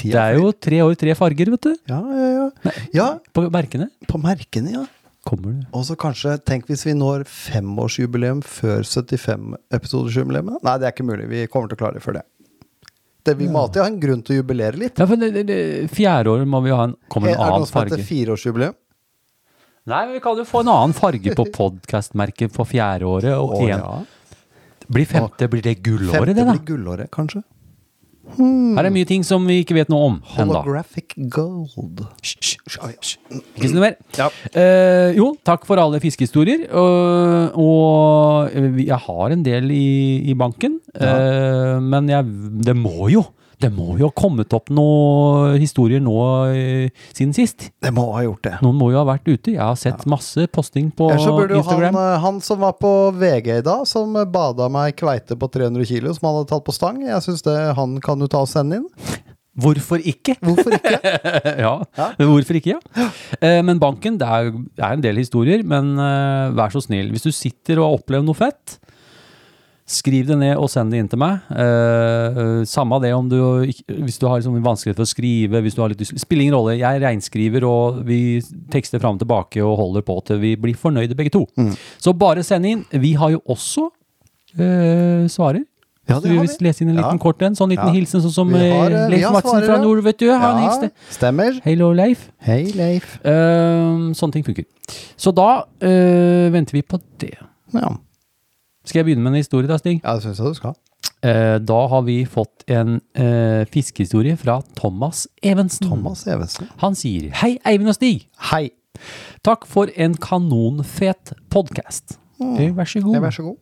[SPEAKER 1] Det er jo tre år, tre farger, vet du.
[SPEAKER 7] Ja, ja, ja. ja,
[SPEAKER 1] På merkene.
[SPEAKER 7] på merkene, ja.
[SPEAKER 1] Kommer det.
[SPEAKER 7] Og så kanskje, tenk hvis vi når femårsjubileum før 75-episodesjubileet. Nei, det er ikke mulig. Vi kommer til å klare det før det. det vi må alltid ha en grunn til å jubilere litt.
[SPEAKER 1] Ja, for det, det, det, fjerde året må vi ha en, kommer
[SPEAKER 7] Er det
[SPEAKER 1] en annen
[SPEAKER 7] noe som
[SPEAKER 1] farge.
[SPEAKER 7] heter fireårsjubileum?
[SPEAKER 1] Nei, men vi kan jo få en annen farge på podcastmerket for fjerde året. Og
[SPEAKER 7] Å,
[SPEAKER 1] en,
[SPEAKER 7] ja.
[SPEAKER 1] Blir femte, blir det gullåret,
[SPEAKER 7] Femte
[SPEAKER 1] det da?
[SPEAKER 7] blir gullåret, kanskje.
[SPEAKER 1] Her
[SPEAKER 7] Mm.
[SPEAKER 1] er mye ting som vi ikke vet noe om ennå.
[SPEAKER 7] Holographic gold.
[SPEAKER 1] Hysj, hysj, hysj. Ikke si noe mer. Eh, jo, takk for alle fiskehistorier. Og, og eh, vi- jeg har en del i, i banken. Eh, men jeg, det må jo Det må jo ha kommet opp noen historier nå eh, siden sist.
[SPEAKER 7] Det må ha gjort det.
[SPEAKER 1] Noen må jo ha vært ute. Jeg har sett masse posting på
[SPEAKER 7] Ellers så burde jo han,
[SPEAKER 1] Instagram.
[SPEAKER 7] eh, han som var på VG i dag, som eh, bada meg i kveite på 300 kilo, som han hadde tatt på stang, jeg syns han kan du ta og sende inn.
[SPEAKER 1] Hvorfor ikke?
[SPEAKER 7] Hvorfor ikke?
[SPEAKER 1] ja. men Hvorfor ikke, ja. Eh, men banken, det er, det er en del historier, men eh, vær så snill. Hvis du sitter og har opplevd noe fett, skriv det ned og send det inn til meg. Eh, eh, samme det om du, ikke- hvis du har liksom vanskelighet for å skrive, hvis du har litt dys- Spiller ingen rolle, jeg reinskriver og vi tekster fram og tilbake og holder på til vi blir fornøyde begge to.
[SPEAKER 7] Mm.
[SPEAKER 1] Så bare send inn. Vi har jo også eh, svarer.
[SPEAKER 7] Ja,
[SPEAKER 1] Så
[SPEAKER 7] det
[SPEAKER 1] vi
[SPEAKER 7] har
[SPEAKER 1] vil
[SPEAKER 7] vi.
[SPEAKER 1] lese inn en
[SPEAKER 7] Ja.
[SPEAKER 1] liten kort en, sånn liten
[SPEAKER 7] Ja.
[SPEAKER 1] hilsen, sånn som
[SPEAKER 7] Vi har,
[SPEAKER 1] eh,
[SPEAKER 7] eh, vi
[SPEAKER 1] Leif
[SPEAKER 7] har
[SPEAKER 1] Madsen
[SPEAKER 7] svarer,
[SPEAKER 1] fra
[SPEAKER 7] ja.
[SPEAKER 1] nord, vet du, har en
[SPEAKER 7] Ja,
[SPEAKER 1] hilsen.
[SPEAKER 7] Stemmer.
[SPEAKER 1] Hello, Leif.
[SPEAKER 7] Hei, Leif.
[SPEAKER 1] Ehm, sånne ting funker. Så da eh, venter vi på det.
[SPEAKER 7] Ja,
[SPEAKER 1] Skal jeg begynne med en historie, da, Stig?
[SPEAKER 7] ja det syns jeg du skal.
[SPEAKER 1] Eh, da har vi fått en eh, fiskehistorie fra Thomas Evensen.
[SPEAKER 7] Thomas Evensen.
[SPEAKER 1] Han sier Hei, Eivind og Stig.
[SPEAKER 7] Hei.
[SPEAKER 1] Takk for en kanonfet podkast. Vær så
[SPEAKER 7] Mm.
[SPEAKER 1] god.
[SPEAKER 7] Ja, Vær så god.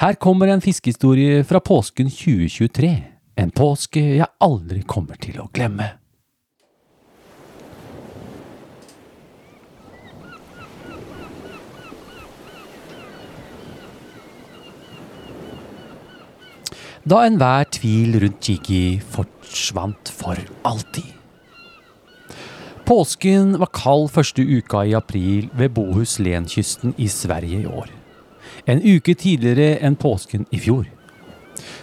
[SPEAKER 1] Her kommer en fiskehistorie fra påsken 2023. En påske jeg aldri kommer til å glemme. Da enhver tvil rundt Jiggy forsvant for alltid. Påsken var kald første uka i april ved Bohuslenkysten i Sverige i år. En uke tidligere enn påsken i fjor.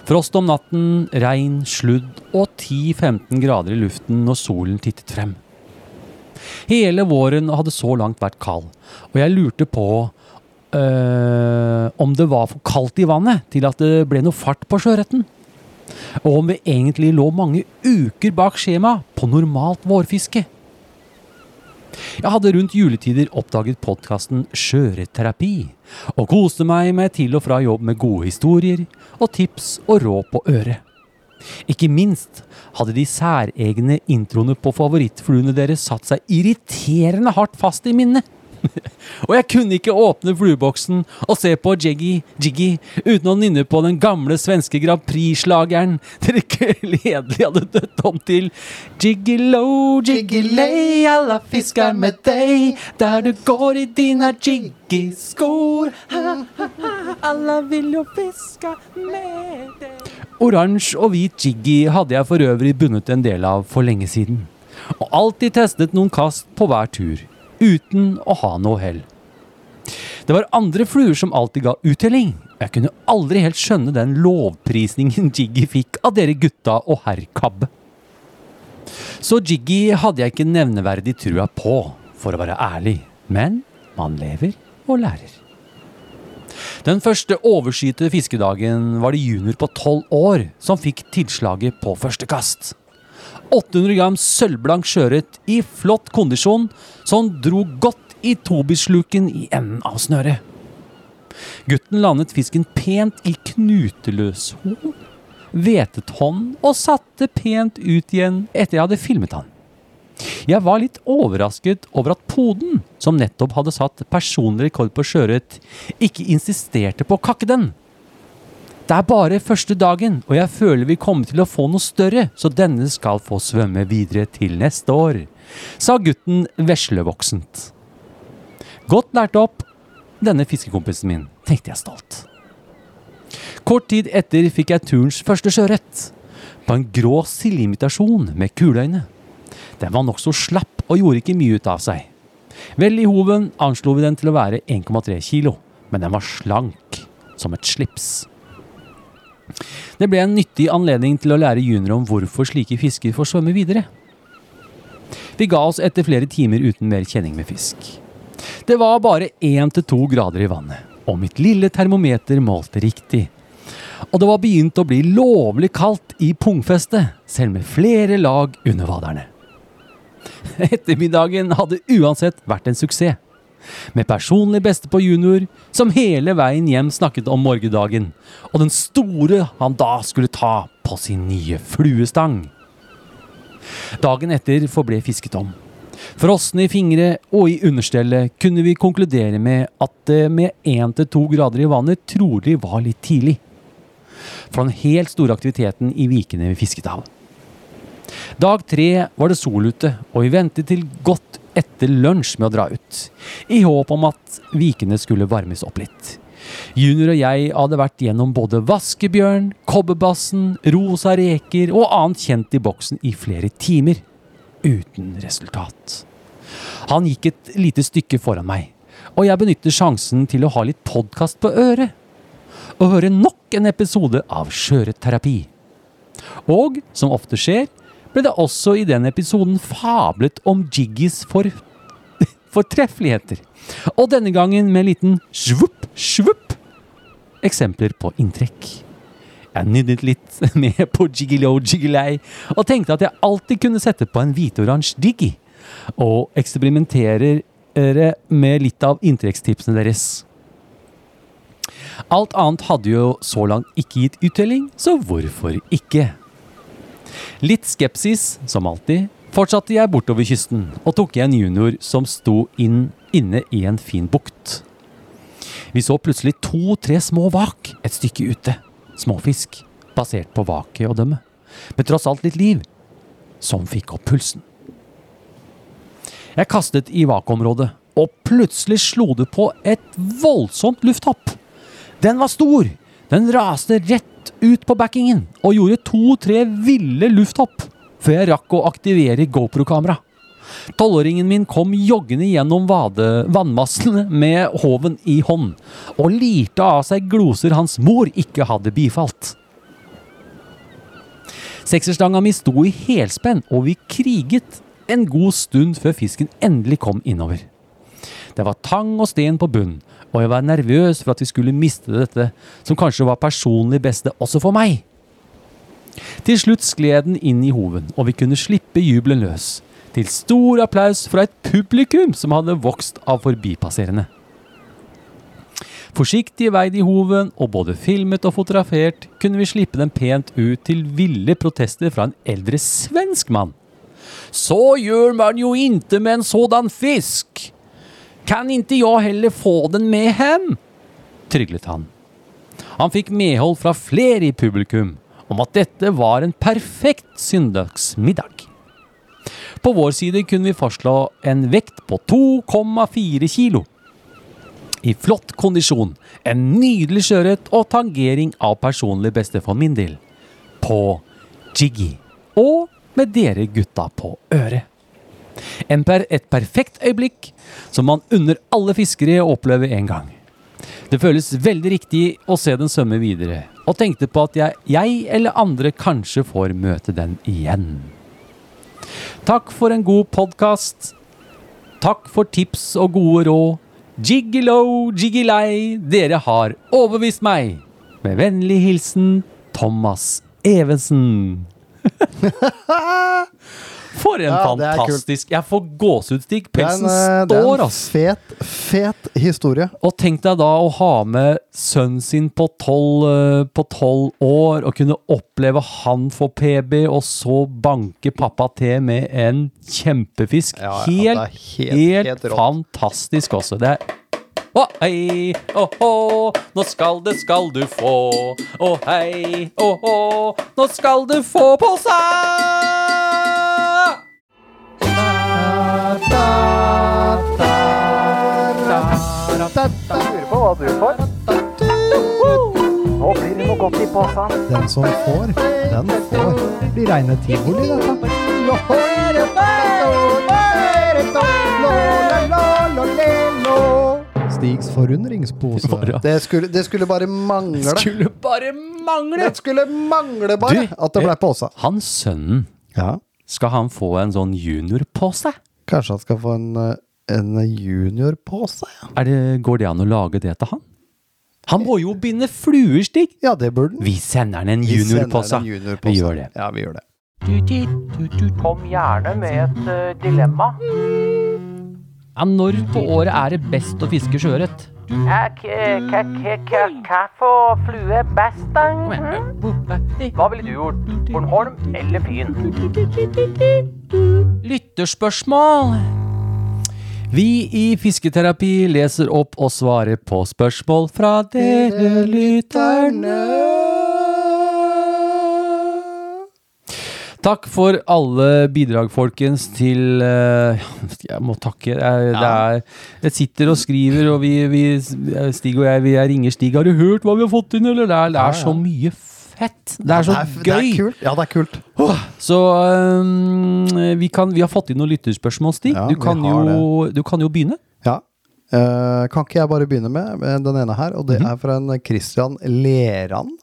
[SPEAKER 1] Frost om natten, regn, sludd og 10-15 grader i luften når solen tittet frem. Hele våren hadde så langt vært kald, og jeg lurte på øh, om det var for kaldt i vannet til at det ble noe fart på sjøørreten. Og om vi egentlig lå mange uker bak skjema på normalt vårfiske. Jeg hadde rundt juletider oppdaget podkasten Skjøreterapi, og koste meg med til og fra jobb med gode historier og tips og råd på øret. Ikke minst hadde de særegne introene på favorittfluene deres satt seg irriterende hardt fast i minnet. og jeg kunne ikke åpne flueboksen og se på Jiggy, Jiggy uten å nynne på den gamle svenske Grand Prix-slageren dere gledelig hadde dødt om til. Jiggilo, jiggilei, alla fisker med deg, der du går i dina jiggy-skor. Alla vil jo fiske med deg. Oransje og hvit jiggy hadde jeg for øvrig bundet en del av for lenge siden. Og alltid testet noen kast på hver tur, uten å ha noe hell. Det var andre fluer som alltid ga uttelling. Jeg kunne aldri helt skjønne den lovprisningen Jiggy fikk av dere gutta og herr Kabbe. Så Jiggy hadde jeg ikke nevneverdig trua på, for å være ærlig. Men man lever og lærer. Den første overskyete fiskedagen var det junior på tolv år som fikk tilslaget på første kast. 800 gram sølvblank sjøørret i flott kondisjon som dro godt i tobisluken i enden av snøret. Gutten landet fisken pent i knuteløs horn, vetet hånden og satte pent ut igjen etter jeg hadde filmet han. Jeg var litt overrasket over at poden, som nettopp hadde satt personlig rekord på sjøørret, ikke insisterte på å kakke den. Det er bare første dagen, og jeg føler vi kommer til å få noe større, så denne skal få svømme videre til neste år, sa gutten veslevoksent. Godt lært opp, denne fiskekompisen min, tenkte jeg stolt. Kort tid etter fikk jeg turens første sjøørret, på en grå sildeimitasjon med kuleøyne. Den var nokså slapp og gjorde ikke mye ut av seg. Vel i hoven anslo vi den til å være 1,3 kilo, men den var slank, som et slips. Det ble en nyttig anledning til å lære junior om hvorfor slike fisker får svømme videre. Vi ga oss etter flere timer uten mer kjenning med fisk. Det var bare én til to grader i vannet, og mitt lille termometer målte riktig. Og det var begynt å bli lovlig kaldt i pungfestet, selv med flere lag under vaderne. Ettermiddagen hadde uansett vært en suksess. Med personlig beste på junior, som hele veien hjem snakket om morgendagen, og den store han da skulle ta på sin nye fluestang. Dagen etter forble fisket om. Frosne i fingre og i understellet kunne vi konkludere med at det med én til to grader i vannet trolig var litt tidlig. For den helt store aktiviteten i vikene vi fisket av. Dag tre var det sol ute, og vi ventet til godt etter lunsj med å dra ut, i håp om at vikene skulle varmes opp litt. Junior og jeg hadde vært gjennom både vaskebjørn, kobberbassen, rosa reker og annet kjent i boksen i flere timer, uten resultat. Han gikk et lite stykke foran meg, og jeg benytter sjansen til å ha litt podkast på øret, og høre nok en episode av Skjøreterapi. Og, som ofte skjer, ble det også i den episoden fablet om Jiggys for fortreffeligheter. Og denne gangen med en liten svupp, svupp eksempler på inntrekk. Jeg nynnet litt med på Jiggilo Jiggilei og tenkte at jeg alltid kunne sette på en hvitoransje Diggy. Og eksperimenterer dere med litt av inntrekkstipsene deres. Alt annet hadde jo så langt ikke gitt uttelling, så hvorfor ikke? Litt skepsis, som alltid, fortsatte jeg bortover kysten og tok igjen junior som sto inn, inne i en fin bukt. Vi så plutselig to-tre små vak et stykke ute. Småfisk, basert på vaket å dømme. Men tross alt litt liv, som fikk opp pulsen. Jeg kastet i vakområdet, og plutselig slo det på et voldsomt lufthopp. Den var stor! Den raste rett ut på backingen og gjorde to-tre ville lufthopp før jeg rakk å aktivere GoPro-kamera. Tolvåringen min kom joggende gjennom vade, vannmassene med håven i hånd og lirte av seg gloser hans mor ikke hadde bifalt. Sekserstanga mi sto i helspenn, og vi kriget en god stund før fisken endelig kom innover. Det var tang og sten på bunnen, og jeg var nervøs for at vi skulle miste dette, som kanskje var personlig beste også for meg. Til slutt skled den inn i hoven, og vi kunne slippe jubelen løs. Til stor applaus fra et publikum som hadde vokst av forbipasserende. Forsiktig veid i hoven, og både filmet og fotografert, kunne vi slippe den pent ut til ville protester fra en eldre svensk mann. Så gjør man jo inte med en sådan fisk! Kan ikke jeg heller få den med hem? tryglet han. Han fikk medhold fra flere i publikum om at dette var en perfekt søndagsmiddag. På vår side kunne vi fastslå en vekt på 2,4 kilo. I flott kondisjon, en nydelig sjøørret og tangering av personlig beste for min del. På Jiggy. Og med dere gutta på øret. En per, et perfekt øyeblikk som man unner alle fiskere å oppleve en gang. Det føles veldig riktig å se den svømme videre, og tenkte på at jeg, jeg eller andre kanskje får møte den igjen. Takk for en god podkast. Takk for tips og gode råd. Jiggilo, jiggilei, dere har overbevist meg. Med vennlig hilsen Thomas Evensen. For en
[SPEAKER 5] Ja, det er kult.
[SPEAKER 1] fantastisk Jeg får gåsehudstikk. Pelsen
[SPEAKER 5] eh, det er
[SPEAKER 1] står,
[SPEAKER 5] en
[SPEAKER 1] ass.
[SPEAKER 5] fet, fet historie.
[SPEAKER 1] Og tenk deg da å ha med sønnen sin på tolv eh, på 12 år, og kunne oppleve han få PB, og så banke pappa til med en kjempefisk.
[SPEAKER 5] Ja, ja, det er
[SPEAKER 1] helt,
[SPEAKER 5] helt-
[SPEAKER 1] helt,
[SPEAKER 5] helt rått.
[SPEAKER 1] fantastisk også. Det er å hei, å hå, nå skal det skal du få. Å hei, å hå, nå skal du få på seg!
[SPEAKER 4] Lurer på hva du får. Nå blir det noe godt i posen.
[SPEAKER 6] Den som får, den får. Blir reine tivoli, dette. Stigs forundringspose.
[SPEAKER 5] Det skulle, det skulle bare mangle.
[SPEAKER 1] Skulle bare mangle!
[SPEAKER 5] Det skulle mangle bare
[SPEAKER 1] Du, eh,
[SPEAKER 5] at det ble påsa.
[SPEAKER 1] Han sønnen
[SPEAKER 5] Ja,
[SPEAKER 1] Skal han få en sånn junior på seg?
[SPEAKER 5] kanskje han skal få en, eh, en junior på seg? ja.
[SPEAKER 1] Er det, går det an å lage det til han? Han må jo binde fluestikk!
[SPEAKER 5] Ja, det burde han.
[SPEAKER 1] Vi sender han en
[SPEAKER 5] Vi
[SPEAKER 1] junior på
[SPEAKER 5] sender
[SPEAKER 1] seg.
[SPEAKER 5] en junior på
[SPEAKER 1] Vi
[SPEAKER 5] seg.
[SPEAKER 1] gjør det.
[SPEAKER 5] Ja, vi gjør det.
[SPEAKER 2] Kom gjerne med et eh, dilemma.
[SPEAKER 9] Ja, når på året er det best å fiske sjøørret?
[SPEAKER 2] Hva for flue best, da? Hva ville du gjort? Bornholm eller Fyn?
[SPEAKER 9] Lytterspørsmål!
[SPEAKER 1] Vi i Fisketerapi leser opp og svarer på spørsmål fra dere lytterne. Takk for alle bidrag, folkens, til eh, Jeg må takke. Jeg, det er, jeg sitter og skriver, og vi, vi Stig og jeg, vi, jeg ringer Stig. Har du hørt hva vi har fått inn, eller? Det er, det er så mye fett. Det er så
[SPEAKER 5] Det er
[SPEAKER 1] gøy.
[SPEAKER 5] kult. Ja, det er kult.
[SPEAKER 1] Så øhm, vi, kan, vi har fått inn noen lytterspørsmål, Stig.
[SPEAKER 5] Ja,
[SPEAKER 1] du,
[SPEAKER 5] vi
[SPEAKER 1] kan
[SPEAKER 5] har
[SPEAKER 1] jo, du kan jo begynne.
[SPEAKER 5] Ja. Eh, kan ikke jeg bare begynne med med den ene her? Og
[SPEAKER 1] Mhm.
[SPEAKER 5] det er fra en Christian Leran.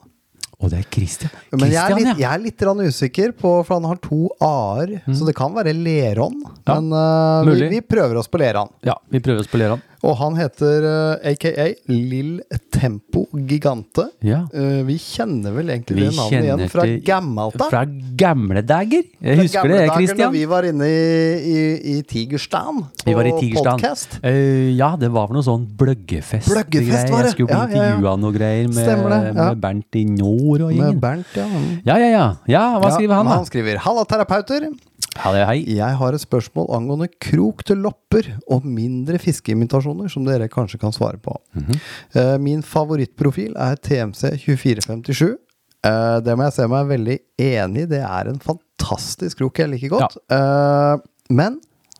[SPEAKER 1] Å, det er Christian.
[SPEAKER 5] Men jeg er
[SPEAKER 1] Christian,
[SPEAKER 5] litt,
[SPEAKER 1] ja. Mhm.
[SPEAKER 5] jeg er litt grann usikker, på, for han har to a-er. Så det kan være Leron.
[SPEAKER 1] Ja,
[SPEAKER 5] Men eh, vi,
[SPEAKER 1] mulig.
[SPEAKER 5] vi prøver oss på Leran.
[SPEAKER 1] ja. Vi prøver å spille han.
[SPEAKER 5] Og han heter eh, aka Lill Tempo Gigante.
[SPEAKER 1] Ja.
[SPEAKER 5] Eh, vi kjenner vel egentlig
[SPEAKER 1] Vi
[SPEAKER 5] det navnet
[SPEAKER 1] kjenner
[SPEAKER 5] igjen fra
[SPEAKER 1] til-
[SPEAKER 5] gammelt av.
[SPEAKER 1] Fra gamle dager. Jeg
[SPEAKER 5] Fra
[SPEAKER 1] husker
[SPEAKER 5] gamle
[SPEAKER 1] det,
[SPEAKER 5] dager
[SPEAKER 1] Christian.
[SPEAKER 5] Når vi var inne i, i, i Tigerstan på
[SPEAKER 1] Vi var i Tigerstaden.
[SPEAKER 5] podcast.
[SPEAKER 1] Eh, ja, det var vel noe sånn bløggefest.
[SPEAKER 5] Bløggefest
[SPEAKER 1] greier.
[SPEAKER 5] var det.
[SPEAKER 1] Jeg skulle bli
[SPEAKER 5] Ja, ja, ja.
[SPEAKER 1] intervjua noe greier med,
[SPEAKER 5] Stemmer det, ja.
[SPEAKER 1] med Bernt i Nord og
[SPEAKER 5] Med
[SPEAKER 1] gjengen.
[SPEAKER 5] Bernt, ja. Mm.
[SPEAKER 1] Ja, ja, ja. ja hva
[SPEAKER 5] Ja,
[SPEAKER 1] skriver han,
[SPEAKER 5] men
[SPEAKER 1] da?
[SPEAKER 5] Han skriver Halla, terapeuter.
[SPEAKER 1] Hei, hei.
[SPEAKER 5] Jeg har et spørsmål angående krok til lopper og mindre fiskeimitasjoner, som dere kanskje kan svare på. Eh, Min favorittprofil er TMC2457. Eh, Det må jeg se meg veldig enig i. Det er en fantastisk krok jeg liker godt. Eh, Men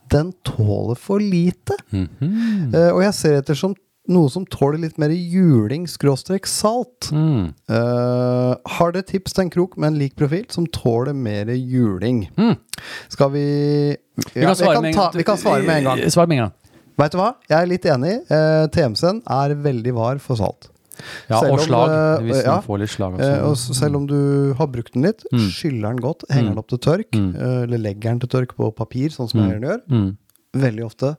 [SPEAKER 5] den tåler for lite. Eh, Og jeg ser etter som noe som tåler litt mer juling-salt.
[SPEAKER 1] Mm.
[SPEAKER 5] Eh, har dere tips til en krok med en lik profil som tåler mer juling? Skal vi
[SPEAKER 1] Hmm. Vi
[SPEAKER 5] Ja,
[SPEAKER 1] kan svare med
[SPEAKER 5] vi, kan
[SPEAKER 1] en
[SPEAKER 5] ta,
[SPEAKER 1] gang. Eh,
[SPEAKER 5] vi kan svare med en gang.
[SPEAKER 1] Svar med en gang.
[SPEAKER 5] Vet du hva? Jeg er litt enig. Eh, TMC-en er veldig var for salt.
[SPEAKER 1] Ja,
[SPEAKER 5] Selv
[SPEAKER 1] og
[SPEAKER 5] om,
[SPEAKER 1] slag.
[SPEAKER 5] eh,
[SPEAKER 1] Hvis
[SPEAKER 5] ja.
[SPEAKER 1] man får litt slag. sånn.
[SPEAKER 5] Eh, og
[SPEAKER 1] Også.
[SPEAKER 5] s- selv om du har brukt den litt,
[SPEAKER 1] Hmm.
[SPEAKER 5] skyller den godt, henger den opp til tørk, eh, eller legger den til tørk på papir, sånn som jeg gjør,
[SPEAKER 1] Mm.
[SPEAKER 5] veldig ofte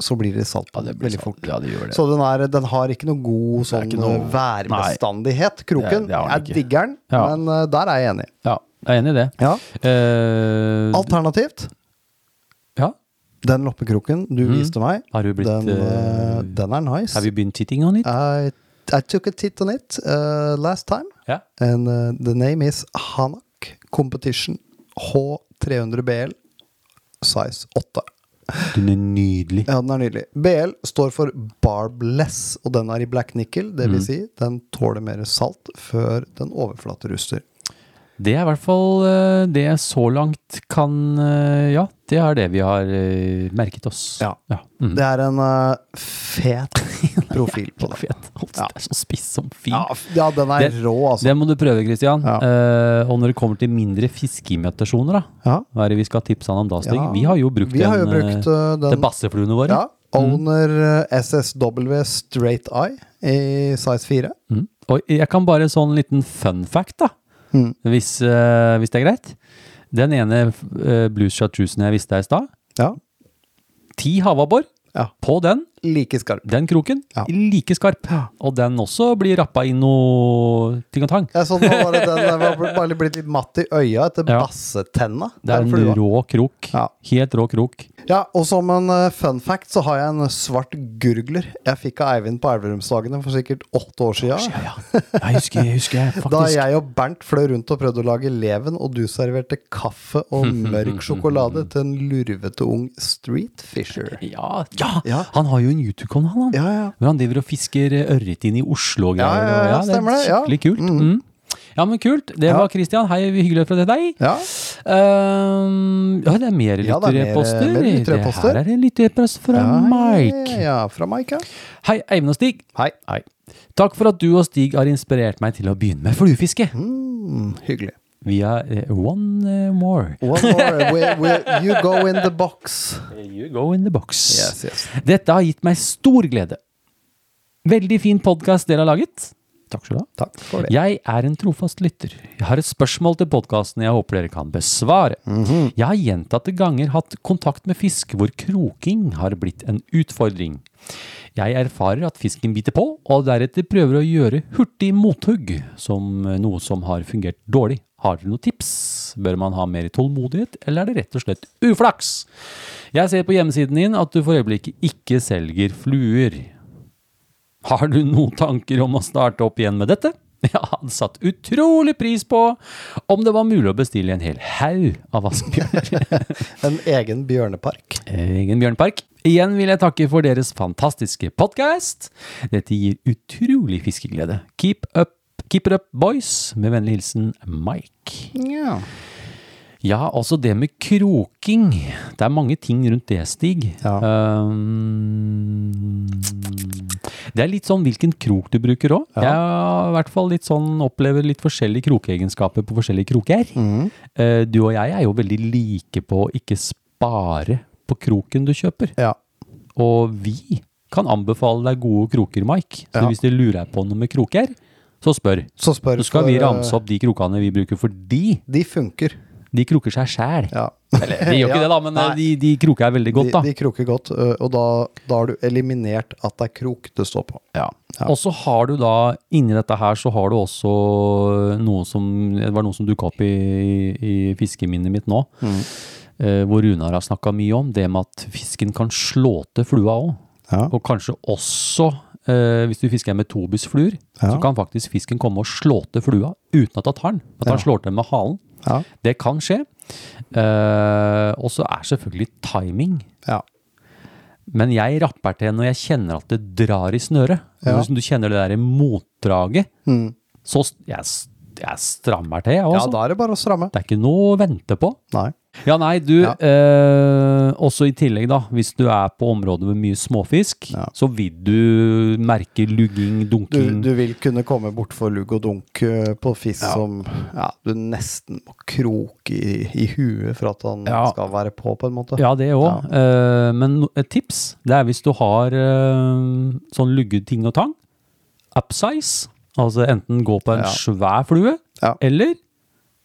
[SPEAKER 5] så blir det salt på den veldig fort.
[SPEAKER 1] Ja, det gjør det.
[SPEAKER 5] Så den, er, den har ikke noe god sånn
[SPEAKER 1] ikke noe-
[SPEAKER 5] værbestandighet, kroken.
[SPEAKER 1] Det- det har den
[SPEAKER 5] jeg
[SPEAKER 1] ikke.
[SPEAKER 5] digger den,
[SPEAKER 1] Ja.
[SPEAKER 5] men eh, der er jeg enig.
[SPEAKER 1] Ja, jeg er enig i det.
[SPEAKER 5] Ja.
[SPEAKER 1] Eh,
[SPEAKER 5] Alternativt,
[SPEAKER 1] ja.
[SPEAKER 5] den loppekroken du viste meg,
[SPEAKER 1] Mm. Har du blitt,
[SPEAKER 5] den, eh,
[SPEAKER 1] eh,
[SPEAKER 5] den er nice.
[SPEAKER 1] Have you been cheating on it?
[SPEAKER 5] I, I took a tit on it uh, last time,
[SPEAKER 1] Ja.
[SPEAKER 5] and uh, the name is Hanak Competition H300BL size 8.
[SPEAKER 1] Den er nydelig.
[SPEAKER 5] Ja, den er nydelig. BL står for barbless, og den er i black nickel, det
[SPEAKER 1] Mm.
[SPEAKER 5] vil si den tåler mer salt før den overflateruster.
[SPEAKER 1] Det er i hvert fall eh, det jeg så langt kan eh, Ja, det er det vi har eh, merket oss.
[SPEAKER 5] Ja.
[SPEAKER 1] Mm.
[SPEAKER 5] Det er en uh, fet profil på den.
[SPEAKER 1] Fet. Holdt,
[SPEAKER 5] Ja.
[SPEAKER 1] Det er så spiss som fin.
[SPEAKER 5] Ja, f- ja, den er
[SPEAKER 1] Det-
[SPEAKER 5] rå, altså.
[SPEAKER 1] Det må du prøve, Christian.
[SPEAKER 5] Ja.
[SPEAKER 1] Eh, og når det kommer til mindre fiskeimitasjoner, da.
[SPEAKER 5] Ja.
[SPEAKER 1] Hva er det vi skal tipse han om da, Stig?
[SPEAKER 5] Ja.
[SPEAKER 1] Vi har jo brukt
[SPEAKER 5] Vi har jo
[SPEAKER 1] den, eh,
[SPEAKER 5] brukt uh,
[SPEAKER 1] til
[SPEAKER 5] den
[SPEAKER 1] bassefluene våre.
[SPEAKER 5] Ja.
[SPEAKER 1] Mm.
[SPEAKER 5] Owner eh, SSW Straight Eye i size 4.
[SPEAKER 1] Mm. Og jeg kan bare sånn liten fun fact, da.
[SPEAKER 5] Mm.
[SPEAKER 1] Hvis, eh, hvis det er greit. Den ene eh, uh, blues chartrusen jeg visste her i stad,
[SPEAKER 5] Ja.
[SPEAKER 1] ti havabbor
[SPEAKER 5] Ja.
[SPEAKER 1] på den.
[SPEAKER 5] like skarp.
[SPEAKER 1] Den kroken,
[SPEAKER 5] Ja.
[SPEAKER 1] like skarp. Og den også blir rappa i noe ting og tang.
[SPEAKER 5] Jeg så nå var det den der var bare blitt litt matt i øya etter
[SPEAKER 1] Ja.
[SPEAKER 5] bassetenna.
[SPEAKER 1] Det er
[SPEAKER 5] Den flua.
[SPEAKER 1] en rå krok.
[SPEAKER 5] Ja.
[SPEAKER 1] Helt rå krok.
[SPEAKER 5] Ja, og som en eh, fun fact så har jeg en svart gurgler. Jeg fikk av Eivind på Elverumsdagene for sikkert åtte år siden.
[SPEAKER 1] Ja, ja. Jeg husker, jeg husker jeg
[SPEAKER 5] Da
[SPEAKER 1] faktisk.
[SPEAKER 5] jeg og Bernt fløy rundt og prøvde å lage leven, og du serverte kaffe og mørk sjokolade til en lurvete ung streetfisher.
[SPEAKER 1] Ja, ja.
[SPEAKER 5] Ja.
[SPEAKER 1] Han har jo en YouTube-kanal, han.
[SPEAKER 5] Ja, ja.
[SPEAKER 1] Hvor han driver og fisker eh, ørret inn i Oslo og
[SPEAKER 5] Ja,
[SPEAKER 1] greier.
[SPEAKER 5] ja, ja,
[SPEAKER 1] og-
[SPEAKER 5] stemmer det, ja.
[SPEAKER 1] Skikkelig kult. Mm. Ja, men kult. Det var Christian. Hei, hyggelig å prate med deg.
[SPEAKER 5] Ja,
[SPEAKER 1] Ehm, ja, det er mer
[SPEAKER 5] Ja, det er mer-
[SPEAKER 1] lytterposter.
[SPEAKER 5] mer lytterposter.
[SPEAKER 1] det her er en lytterpost fra
[SPEAKER 5] Ja,
[SPEAKER 1] Mike.
[SPEAKER 5] ja, fra Mike, ja.
[SPEAKER 1] Hei, Eivind og Stig.
[SPEAKER 5] Hei.
[SPEAKER 1] Takk for at du og Stig har inspirert meg til å begynne med fluefiske.
[SPEAKER 5] Mm, hyggelig.
[SPEAKER 1] Via eh, One eh, More.
[SPEAKER 5] One more. We, we, you go in the box.
[SPEAKER 1] You go in the box.
[SPEAKER 5] Yes, yes.
[SPEAKER 1] Dette har gitt meg stor glede. Veldig fin podkast dere har laget. Takk skal du ha.
[SPEAKER 5] Takk for det.
[SPEAKER 1] Jeg er en trofast lytter. Jeg har et spørsmål til podkasten jeg håper dere kan besvare. Jeg har gjentatte ganger hatt kontakt med fisk hvor kroking har blitt en utfordring. Jeg erfarer at fisken biter på, og deretter prøver å gjøre hurtig mothugg, som eh, noe som har fungert dårlig. Har dere noen tips? Bør man ha mer tålmodighet, eller er det rett og slett uflaks? Jeg ser på hjemmesiden din at du for øyeblikket ikke selger fluer. Har du noen tanker om å starte opp igjen med dette? Jeg hadde satt utrolig pris på om det var mulig å bestille en hel haug av vaskebjørner.
[SPEAKER 5] En egen bjørnepark.
[SPEAKER 1] Egen bjørnpark. Igjen vil jeg takke for deres fantastiske podkast. Dette gir utrolig fiskeglede. Keep up, keep it up, boys. Med vennlig hilsen Mike.
[SPEAKER 5] Ja.
[SPEAKER 1] Ja, altså det med kroking. Det er mange ting rundt det, Stig. Ehm, det er litt sånn hvilken krok du bruker òg. Jeg har i hvert fall litt sånn, opplever litt forskjellige krokeegenskaper på forskjellige kroker.
[SPEAKER 5] Mhm.
[SPEAKER 1] Eh, du og jeg er jo veldig like på å ikke spare på kroken du kjøper.
[SPEAKER 5] Ja.
[SPEAKER 1] Og vi kan anbefale deg gode kroker, Mike. Så
[SPEAKER 5] Ja.
[SPEAKER 1] hvis du lurer på noe med kroker, så spør.
[SPEAKER 5] Så spør
[SPEAKER 1] Så skal
[SPEAKER 5] for,
[SPEAKER 1] vi
[SPEAKER 5] eh,
[SPEAKER 1] ramse opp de krokene vi bruker, fordi
[SPEAKER 5] De funker.
[SPEAKER 1] de kroker seg sjæl.
[SPEAKER 5] Ja.
[SPEAKER 1] De gjør ikke
[SPEAKER 5] Ja,
[SPEAKER 1] det, da, men eh,
[SPEAKER 5] nei.
[SPEAKER 1] de, de kroker er veldig godt, da.
[SPEAKER 5] De, de kroker godt, ø, og da, da har du eliminert at det er krok det står på. Ja.
[SPEAKER 1] Og så har du da, inni dette her, så har du også noe som Det var noe som dukka opp i, i fiskeminnet mitt nå,
[SPEAKER 5] Mm.
[SPEAKER 1] eh, hvor Runar har snakka mye om det med at fisken kan slå til flua òg.
[SPEAKER 5] Ja.
[SPEAKER 1] Og kanskje også, eh, hvis du fisker med tobisfluer, så kan faktisk fisken komme og slå til flua uten at han tar den. At han slår til med halen.
[SPEAKER 5] Ja.
[SPEAKER 1] Det kan skje. Eh, og så er selvfølgelig timing.
[SPEAKER 5] Ja.
[SPEAKER 1] Men jeg rapper til når jeg kjenner at det drar i snøret. Ja. Hvis du kjenner det der motdraget, så st- jeg, s- jeg strammer til, jeg
[SPEAKER 5] Mm. ja,
[SPEAKER 1] også.
[SPEAKER 5] da er det bare å stramme.
[SPEAKER 1] det er ikke noe å vente på.
[SPEAKER 5] Nei.
[SPEAKER 1] Ja, nei, du,
[SPEAKER 5] Ja.
[SPEAKER 1] eh, også i tillegg da, hvis du er på områder med mye småfisk,
[SPEAKER 5] Ja.
[SPEAKER 1] så vil du merke lugging,
[SPEAKER 5] Du,
[SPEAKER 1] dunking.
[SPEAKER 5] du vil kunne komme bortfor lugg og dunk ø, på fisk som ja, du nesten må kroke i, i huet for at han
[SPEAKER 1] Ja.
[SPEAKER 5] skal være på, på en måte.
[SPEAKER 1] Ja, det òg. men no- et tips det er hvis du har eh, sånn lugget ting og tang. Upsize. Altså enten gå på en
[SPEAKER 5] Ja.
[SPEAKER 1] svær flue,
[SPEAKER 5] Ja.
[SPEAKER 1] eller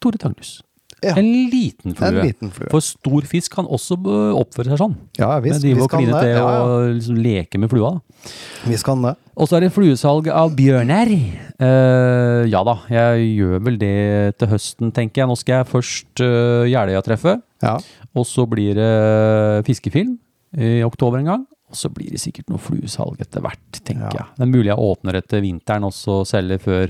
[SPEAKER 1] Tore Tangnus.
[SPEAKER 5] Ja.
[SPEAKER 1] En liten flue.
[SPEAKER 5] En liten flue.
[SPEAKER 1] For stor fisk kan også eh, oppføre seg sånn.
[SPEAKER 5] Ja, visst,
[SPEAKER 1] de
[SPEAKER 5] visst
[SPEAKER 1] må
[SPEAKER 5] kan
[SPEAKER 1] kline
[SPEAKER 5] det.
[SPEAKER 1] til
[SPEAKER 5] Ja, ja.
[SPEAKER 1] og liksom leke med flua. da.
[SPEAKER 5] Vi skal det.
[SPEAKER 1] Og så er det fluesalg av bjørner. Eh, ja da, jeg gjør vel det til høsten, tenker jeg. Nå skal jeg først uh, Jeløya-treffet.
[SPEAKER 5] Ja.
[SPEAKER 1] Og så blir det fiskefilm i oktober en gang. Og så blir det sikkert noe fluesalg etter hvert, tenker
[SPEAKER 5] Ja.
[SPEAKER 1] jeg. Det er mulig jeg åpner etter vinteren og så selger før.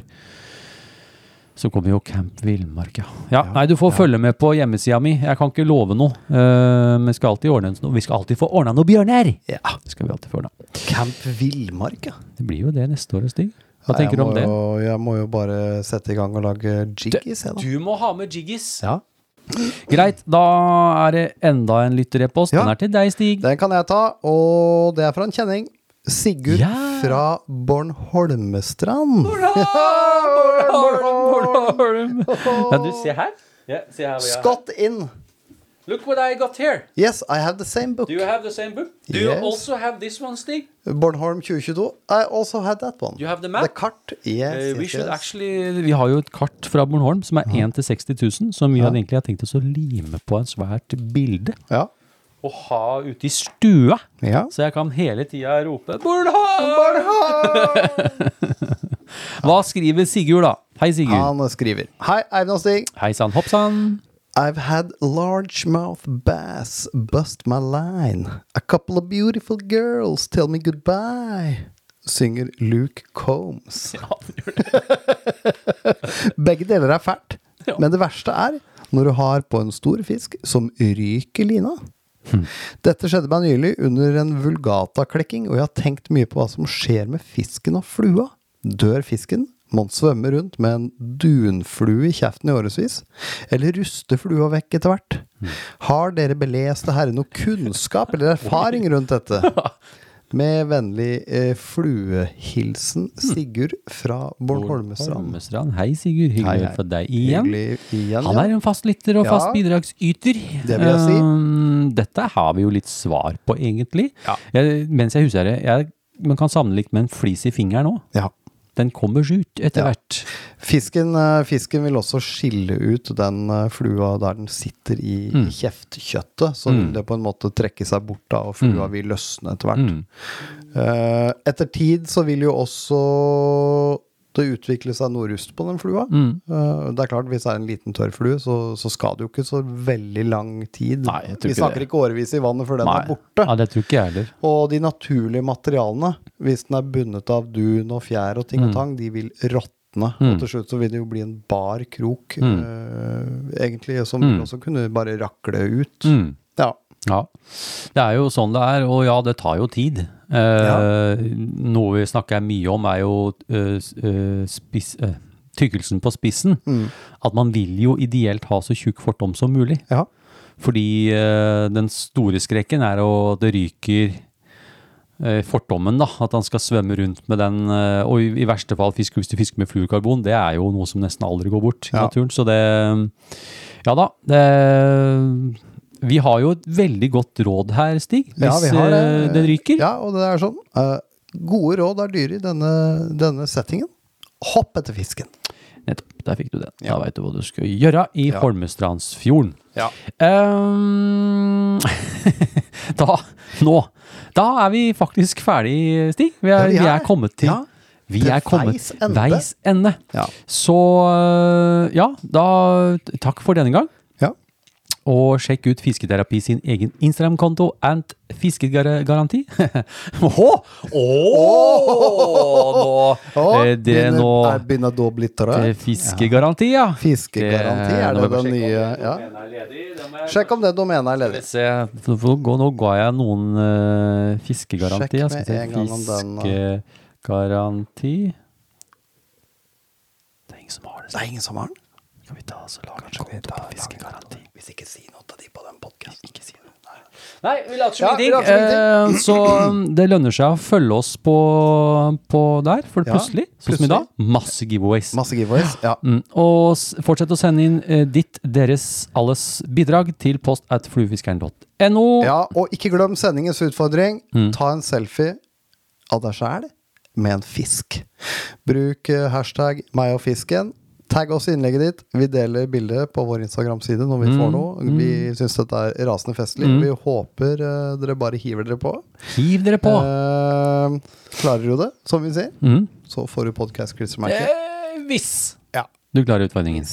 [SPEAKER 1] Så kommer jo Camp Villmark, ja. ja. Nei, du får følge med på hjemmesida mi. Jeg kan ikke love noe. eh, men skal alltid ordne noe. Vi skal alltid få ordna noe bjørner!
[SPEAKER 5] Ja.
[SPEAKER 1] Det skal vi alltid få ordnet.
[SPEAKER 5] Camp Villmark, ja.
[SPEAKER 1] Det blir jo det neste år, Stig. Hva
[SPEAKER 5] Nei,
[SPEAKER 1] tenker du
[SPEAKER 5] jeg
[SPEAKER 1] om
[SPEAKER 5] må
[SPEAKER 1] det?
[SPEAKER 5] Jo, jeg må jo bare sette i gang og lage jiggies, jeg, da.
[SPEAKER 1] Du må ha med jiggis!
[SPEAKER 5] Ja.
[SPEAKER 1] Greit, da er det enda en lytterepost.
[SPEAKER 5] Ja.
[SPEAKER 1] Den er til deg, Stig.
[SPEAKER 5] Den kan jeg ta, og det er fra en kjenning. Sigurd
[SPEAKER 1] Ja.
[SPEAKER 5] fra Bornholmestrand.
[SPEAKER 1] Bornholm, Bornholm. Ja, du, se her. Ja, se her hvor jeg er.
[SPEAKER 5] Scott in.
[SPEAKER 1] Look what I got here.
[SPEAKER 5] Yes, I have the same book.
[SPEAKER 1] Do you have the same book? Do
[SPEAKER 5] Yes.
[SPEAKER 1] you also have this one, Stig?
[SPEAKER 5] Bornholm 2022. I also had that one.
[SPEAKER 1] You have the map?
[SPEAKER 5] The kart. Yes,
[SPEAKER 1] Eh, we
[SPEAKER 5] yes,
[SPEAKER 1] should
[SPEAKER 5] yes.
[SPEAKER 1] actually, vi har jo et kart fra Bornholm som er 1 til 60 000, som vi hadde egentlig har tenkt oss å lime på en svært bilde.
[SPEAKER 5] Ja.
[SPEAKER 1] å ha ute i stua.
[SPEAKER 5] Ja.
[SPEAKER 1] Så jeg kan hele tida rope 'Bårdhavn!' Hva skriver Sigurd, da? Hei, Sigurd.
[SPEAKER 5] Han skriver Hei, Eivind og Stig.
[SPEAKER 1] Hei sann, hopp sann.
[SPEAKER 5] I've had largemouth bass bust my line. A couple of beautiful girls tell me goodbye. Synger Luke Combs. Begge deler er fælt. Men det verste er når du har på en stor fisk som ryker lina. Dette skjedde meg nylig under en vulgata-klekking, og jeg har tenkt mye på hva som skjer med fisken og flua. Dør fisken? Må den svømme rundt med en dunflue i kjeften i årevis? Eller ruster flua vekk etter hvert? Har dere beleste herre noe kunnskap eller erfaring rundt dette? Med vennlig eh, fluehilsen Sigurd fra Bornholmestrand.
[SPEAKER 1] Holmestrand. Hei, Sigurd. Hyggelig
[SPEAKER 5] Hei, hei.
[SPEAKER 1] for deg igjen.
[SPEAKER 5] Hyggelig igjen,
[SPEAKER 1] Han er en fast lytter og
[SPEAKER 5] Ja.
[SPEAKER 1] fast bidragsyter.
[SPEAKER 5] Det vil jeg si.
[SPEAKER 1] Ehm, Dette har vi jo litt svar på, egentlig. Jeg, mens jeg husker det, jeg, man kan sammenligne med en flis i fingeren òg.
[SPEAKER 5] Ja.
[SPEAKER 1] Den kommer seg ut etter
[SPEAKER 5] Ja.
[SPEAKER 1] hvert.
[SPEAKER 5] Fisken, eh, fisken vil også skille ut den eh, flua der den sitter i
[SPEAKER 1] Mm.
[SPEAKER 5] i kjeftkjøttet. Så vil det på en måte trekke seg bort, da, og
[SPEAKER 1] Mm.
[SPEAKER 5] flua vil løsne etter hvert. Eh, etter tid så vil jo også det utvikle seg noe rust på den flua.
[SPEAKER 1] Mm.
[SPEAKER 5] Eh, det er klart, Hvis det er en liten tørr flue, så, så skal det jo ikke så veldig lang tid.
[SPEAKER 1] Nei, jeg tror
[SPEAKER 5] Vi
[SPEAKER 1] ikke
[SPEAKER 5] snakker
[SPEAKER 1] det.
[SPEAKER 5] ikke årevis i vannet før den
[SPEAKER 1] Nei.
[SPEAKER 5] er borte.
[SPEAKER 1] Ja, det tror ikke jeg heller.
[SPEAKER 5] Og de naturlige materialene, hvis den er bundet av dun og fjær og ting
[SPEAKER 1] Mm.
[SPEAKER 5] og tang, de vil råtne. Og til slutt så vil det jo bli en bar krok,
[SPEAKER 1] Mm.
[SPEAKER 5] eh, egentlig, som vil også kunne bare rakle ut.
[SPEAKER 1] Mm.
[SPEAKER 5] Ja.
[SPEAKER 1] Ja, det er jo sånn det er, og ja, det tar jo tid. Eh, Noe vi snakker mye om er jo eh, s- eh, spiss, eh, tykkelsen på spissen.
[SPEAKER 5] Mm.
[SPEAKER 1] At man vil jo ideelt ha så tjukk fortom som mulig.
[SPEAKER 5] ja.
[SPEAKER 1] Fordi eh, den store skrekken er å det ryker eh, fortommen, da. At han skal svømme rundt med den. eh, og i, i verste fall fisk hvis du fisker med fluorkarbon. Det er jo noe som nesten aldri går bort i
[SPEAKER 5] Ja.
[SPEAKER 1] naturen. Så det Ja da. Det, vi har jo et veldig godt råd her, Stig. Hvis
[SPEAKER 5] Ja, vi har det.
[SPEAKER 1] eh, det ryker.
[SPEAKER 5] Ja, og det er sånn. eh, gode råd er dyre i denne, denne settingen. Hopp etter fisken.
[SPEAKER 1] Nettopp. Der fikk du den. Da veit du hva du skal gjøre i Holmestrandsfjorden.
[SPEAKER 5] Ja.
[SPEAKER 1] Ehm, da, nå, da er vi faktisk ferdig, Stig. Vi er,
[SPEAKER 5] Ja,
[SPEAKER 1] vi
[SPEAKER 5] vi
[SPEAKER 1] er,
[SPEAKER 5] er-
[SPEAKER 1] kommet til
[SPEAKER 5] ja,
[SPEAKER 1] Vi
[SPEAKER 5] til
[SPEAKER 1] er kommet
[SPEAKER 5] veis ende.
[SPEAKER 1] veis ende.
[SPEAKER 5] Ja.
[SPEAKER 1] Så øh, ja, da takk for denne gang.
[SPEAKER 5] Ja.
[SPEAKER 1] Og sjekk ut Fisketerapi sin egen Instagram-konto and fiskegaranti. Åhå! Ååå! Nå
[SPEAKER 5] Å,
[SPEAKER 1] eh, Det
[SPEAKER 5] begynner-
[SPEAKER 1] nå
[SPEAKER 5] jeg Begynner da å bli
[SPEAKER 1] eh,
[SPEAKER 5] trøtt.
[SPEAKER 1] Fiskegaranti, ja.
[SPEAKER 5] Fiskegaranti,
[SPEAKER 1] Det-
[SPEAKER 5] er
[SPEAKER 1] Eh, nå må
[SPEAKER 5] det
[SPEAKER 1] jeg bare
[SPEAKER 5] den nye ja. Sjekk om det domenet er ledig.
[SPEAKER 1] Se, for nå gå- nå ga jeg noen eh, fiskegaranti.
[SPEAKER 5] Sjekk
[SPEAKER 1] Jeg
[SPEAKER 5] med
[SPEAKER 1] skal se,
[SPEAKER 5] en gang om den, eh.
[SPEAKER 1] fiskegaranti Det er ingen som har det.
[SPEAKER 5] Det er ingen som har den.
[SPEAKER 1] Skal vi ta oss og lage en konto på fiskegaranti?
[SPEAKER 5] Hvis ikke si noe til de på den podkasten. Ikke si noe.
[SPEAKER 1] Nei, vi later
[SPEAKER 5] Ja,
[SPEAKER 1] som
[SPEAKER 5] vi later som
[SPEAKER 1] ingenting. Eh, Så um, det lønner seg å følge oss på, på der, for
[SPEAKER 5] Ja,
[SPEAKER 1] plutselig, sånn som i
[SPEAKER 5] plutselig.
[SPEAKER 1] dag, masse giveaways.
[SPEAKER 5] Masse giveaways. Ja.
[SPEAKER 1] Mm. Og s- fortsett å sende inn eh, ditt, deres, alles bidrag til post at fluefiskeren.no.
[SPEAKER 5] ja, og ikke glem sendingens utfordring.
[SPEAKER 1] Mm.
[SPEAKER 5] Ta en selfie av deg sjæl med en fisk. Bruk eh, hashtag meg og fisken. Tagg oss i innlegget ditt. Vi deler bildet på vår Instagram-side når vi
[SPEAKER 1] Mm.
[SPEAKER 5] får noe. Vi syns dette er rasende festlig. Vi håper eh, dere bare hiver dere på.
[SPEAKER 1] Hiv dere på!
[SPEAKER 5] Eh, klarer du det, som vi sier,
[SPEAKER 1] Mm.
[SPEAKER 5] så får du podkast-klistremerket.
[SPEAKER 1] Eh, hvis
[SPEAKER 5] Ja.
[SPEAKER 1] du klarer utfordringen.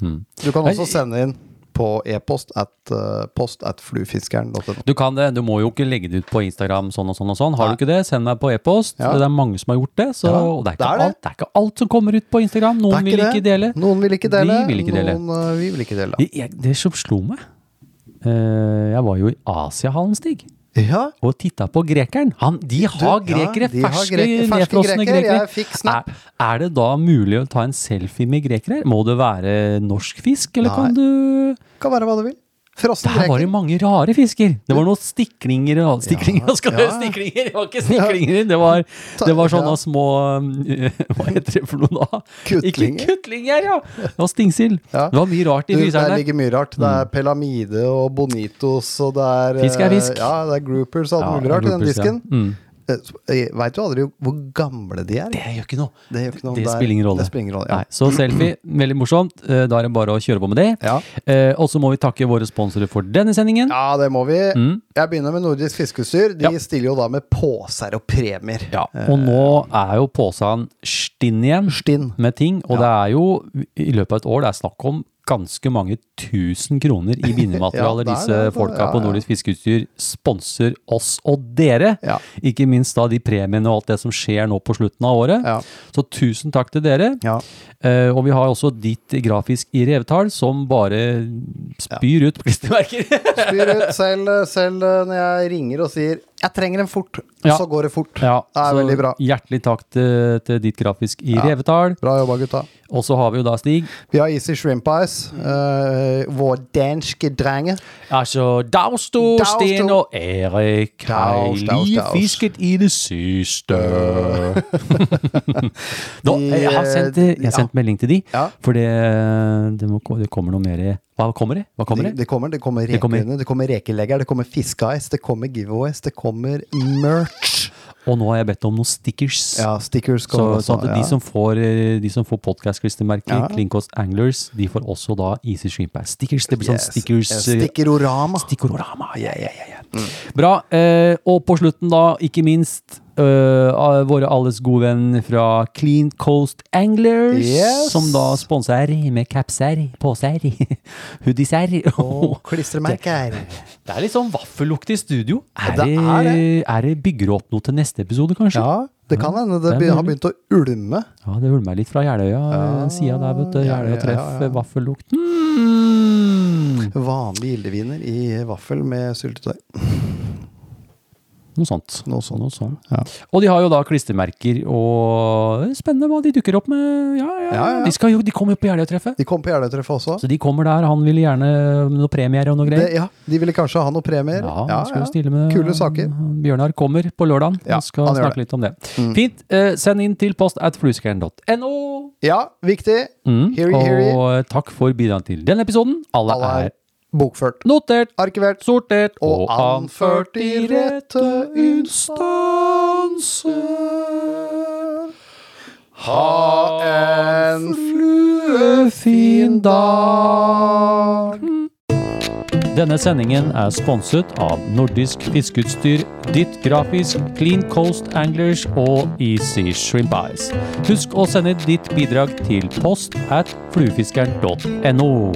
[SPEAKER 5] Du kan også
[SPEAKER 1] Nei.
[SPEAKER 5] sende inn på e-post at, eh, post at fluefiskeren.no.
[SPEAKER 1] Du kan det, du må jo ikke legge det ut på Instagram sånn og sånn og sånn. Har
[SPEAKER 5] Nei.
[SPEAKER 1] du ikke det, send meg på e-post.
[SPEAKER 5] Ja.
[SPEAKER 1] Det er mange som har gjort det. Så
[SPEAKER 5] Ja,
[SPEAKER 1] og det, er
[SPEAKER 5] det
[SPEAKER 1] ikke
[SPEAKER 5] er det.
[SPEAKER 1] Alt, det er ikke alt som kommer ut på Instagram.
[SPEAKER 5] Det er
[SPEAKER 1] Noen vil ikke
[SPEAKER 5] det.
[SPEAKER 1] dele.
[SPEAKER 5] Noen vil ikke dele.
[SPEAKER 1] Vi vil ikke dele.
[SPEAKER 5] Noen, eh, vi vil ikke dele.
[SPEAKER 1] Det, jeg, det som slo meg eh, Jeg var jo i Asiahallen, Stig,
[SPEAKER 5] Ja,
[SPEAKER 1] og titta på grekeren. Han, de har
[SPEAKER 5] ja,
[SPEAKER 1] grekere!
[SPEAKER 5] de har
[SPEAKER 1] ferske,
[SPEAKER 5] greker- ferske
[SPEAKER 1] nedfrosne
[SPEAKER 5] greker.
[SPEAKER 1] grekere.
[SPEAKER 5] Jeg fikk snap.
[SPEAKER 1] Er, er det da mulig å ta en selfie med grekere? Må det være norsk fisk, eller
[SPEAKER 5] Nei.
[SPEAKER 1] kan du
[SPEAKER 5] kan være hva du vil. Frossen
[SPEAKER 1] Der var det
[SPEAKER 5] greker.
[SPEAKER 1] mange rare fisker. Det var noen stiklinger og Stiklinger, skal du
[SPEAKER 5] ja.
[SPEAKER 1] høre, stiklinger! Det var ikke stiklinger, det var, det var sånne
[SPEAKER 5] Ja.
[SPEAKER 1] små eh, Hva heter det for noe da?
[SPEAKER 5] Kutlinger.
[SPEAKER 1] Ikke kutlinger, ja! Det var stingsild.
[SPEAKER 5] Ja.
[SPEAKER 1] Det var mye rart i
[SPEAKER 5] Du, der
[SPEAKER 1] fryseren der. Mm.
[SPEAKER 5] ligger mye rart. Det er pelamide og bonitos, og det er eh,
[SPEAKER 1] Fisk er fisk.
[SPEAKER 5] Ja, det er groupers og alt
[SPEAKER 1] Ja,
[SPEAKER 5] mulig rart i den
[SPEAKER 1] groupers, ja.
[SPEAKER 5] disken. Eh,
[SPEAKER 1] Mm.
[SPEAKER 5] Veit jo aldri hvor gamle de er.
[SPEAKER 1] Det gjør ikke noe.
[SPEAKER 5] Det gjør ikke noe om
[SPEAKER 1] Det
[SPEAKER 5] er-
[SPEAKER 1] spiller ingen rolle.
[SPEAKER 5] Det spiller ingen rolle ja.
[SPEAKER 1] Nei, så selfie, veldig morsomt. Eh, Da er det bare å kjøre på med det.
[SPEAKER 5] Ja.
[SPEAKER 1] Eh, og så må vi takke våre sponsorer for denne sendingen.
[SPEAKER 5] ja, det må vi.
[SPEAKER 1] Mm.
[SPEAKER 5] Jeg begynner med Nordisk Fiskeutstyr. De
[SPEAKER 1] Ja.
[SPEAKER 5] stiller jo da med poser og premier.
[SPEAKER 1] Ja, og nå er jo posen stinn igjen
[SPEAKER 5] Stinn.
[SPEAKER 1] med ting, og det er jo i løpet av et år det er snakk om ganske mange tusen kroner i
[SPEAKER 5] Ja,
[SPEAKER 1] bindematerialer.
[SPEAKER 5] det er
[SPEAKER 1] Disse
[SPEAKER 5] det, det-
[SPEAKER 1] folka
[SPEAKER 5] ja,
[SPEAKER 1] på
[SPEAKER 5] ja.
[SPEAKER 1] Nordisk Fiskeutstyr sponser oss og dere.
[SPEAKER 5] Ja.
[SPEAKER 1] Ikke minst da de premiene og alt det som skjer nå på slutten av året.
[SPEAKER 5] Ja.
[SPEAKER 1] Så tusen takk til dere.
[SPEAKER 5] Ja.
[SPEAKER 1] Eh, og vi har også ditt grafisk i revetall, som bare spyr ut klistremerker.
[SPEAKER 5] Spyr ut selv, selv eh, når jeg ringer og sier 'jeg trenger en fort',
[SPEAKER 1] Ja.
[SPEAKER 5] så går det fort.
[SPEAKER 1] ja,
[SPEAKER 5] det er
[SPEAKER 1] så
[SPEAKER 5] veldig bra.
[SPEAKER 1] Hjertelig takk til, til ditt grafisk i revetall.
[SPEAKER 5] Bra jobba, gutta.
[SPEAKER 1] Og så har vi jo da Stig.
[SPEAKER 5] Vi har Easy Shrimp Ice. eh, vår danske drenge.
[SPEAKER 1] Altså, Dausto,
[SPEAKER 5] Daus,
[SPEAKER 1] Sten
[SPEAKER 5] Daus.
[SPEAKER 1] og Erik har
[SPEAKER 5] Daus, Daus,
[SPEAKER 1] lige
[SPEAKER 5] Daus.
[SPEAKER 1] fisket i det siste. Nå,
[SPEAKER 5] De,
[SPEAKER 1] jeg har sendt, jeg har sendt melding til de,
[SPEAKER 5] Ja.
[SPEAKER 1] for det, det, må, det kommer noe mer Hva kommer det? Hva kommer
[SPEAKER 5] Det,
[SPEAKER 1] det?
[SPEAKER 5] det kommer, det kommer
[SPEAKER 1] Det kommer-
[SPEAKER 5] rekene, det kommer rekelegger, det kommer fiskeis, det kommer giveaways, det kommer merch.
[SPEAKER 1] Og nå har jeg bedt om noen stickers.
[SPEAKER 5] Ja, stickers
[SPEAKER 1] Så,
[SPEAKER 5] kommer
[SPEAKER 1] sånn at
[SPEAKER 5] også.
[SPEAKER 1] de
[SPEAKER 5] ja.
[SPEAKER 1] som får, eh, de som får podcast-klistremerker,
[SPEAKER 5] Ja.
[SPEAKER 1] Klinkos Anglers, de får også da Easy Shrimp Bass stickers. Det blir sånn
[SPEAKER 5] Yes.
[SPEAKER 1] stickers...
[SPEAKER 5] Ja, Mm.
[SPEAKER 1] eh,
[SPEAKER 5] Stikkerorama.
[SPEAKER 1] Stikkororama. Ja, ja, ja, ja. Bra. Eh, og på slutten, da, ikke minst eh, av våre alles gode venn fra Clean Coast Anglers,
[SPEAKER 5] Yes.
[SPEAKER 1] som da sponser med capser, poser, hoodieser.
[SPEAKER 5] Og klistremerker.
[SPEAKER 1] Det er litt sånn vaffellukt i studio. Er
[SPEAKER 5] Ja,
[SPEAKER 1] det,
[SPEAKER 5] det er
[SPEAKER 1] er det bygger opp noe til neste episode, kanskje?
[SPEAKER 5] Ja, det kan hende det
[SPEAKER 1] det er
[SPEAKER 5] be- har
[SPEAKER 1] mulig.
[SPEAKER 5] begynt å ulme.
[SPEAKER 1] Ja, det ulmer litt fra Jeløya-sida der, vet du.
[SPEAKER 5] ja, ja,
[SPEAKER 1] Jeløya treff,
[SPEAKER 5] ja, ja.
[SPEAKER 1] vaffellukt. Mm.
[SPEAKER 5] Vanlig gildeviner i vaffel med syltetøy.
[SPEAKER 1] Noe sånt.
[SPEAKER 5] Noe sånt.
[SPEAKER 1] Noe sånt.
[SPEAKER 5] Ja.
[SPEAKER 1] Og de har jo da klistremerker, og det er spennende hva de dukker opp med. Ja, ja,
[SPEAKER 5] Ja, ja.
[SPEAKER 1] De, skal jo, de kommer jo på Jeløya-treffet.
[SPEAKER 5] De kom på Jeløya-treffet også.
[SPEAKER 1] Så de kommer der. Han ville gjerne noen premier og noe
[SPEAKER 5] Det,
[SPEAKER 1] greier.
[SPEAKER 5] ja, de ville kanskje ha noen premier.
[SPEAKER 1] ja, han skal jo stille med
[SPEAKER 5] Kule saker.
[SPEAKER 1] Bjørnar kommer på lørdag.
[SPEAKER 5] Ja,
[SPEAKER 1] han skal
[SPEAKER 5] han gjør
[SPEAKER 1] snakke
[SPEAKER 5] det. Mm.
[SPEAKER 1] litt om det. Fint. Eh, send inn til post at flueskeren.no.
[SPEAKER 5] Ja, viktig.
[SPEAKER 1] Mm.
[SPEAKER 5] Heary,
[SPEAKER 1] Og
[SPEAKER 5] heary.
[SPEAKER 1] eh, takk for bidrag til denne episoden. Alle,
[SPEAKER 5] Alle er
[SPEAKER 1] er
[SPEAKER 5] bokført,
[SPEAKER 1] notert,
[SPEAKER 5] arkivert
[SPEAKER 1] sortert
[SPEAKER 5] og anført i rette instanser. Ha en
[SPEAKER 1] fluefin dag. Denne sendingen er sponset av Nordisk Fiskeutstyr, Ditt Grafisk, Clean Coast Anglers og Easy Shrimp Eyes. Husk å sende ditt bidrag til post at fluefiskeren.no.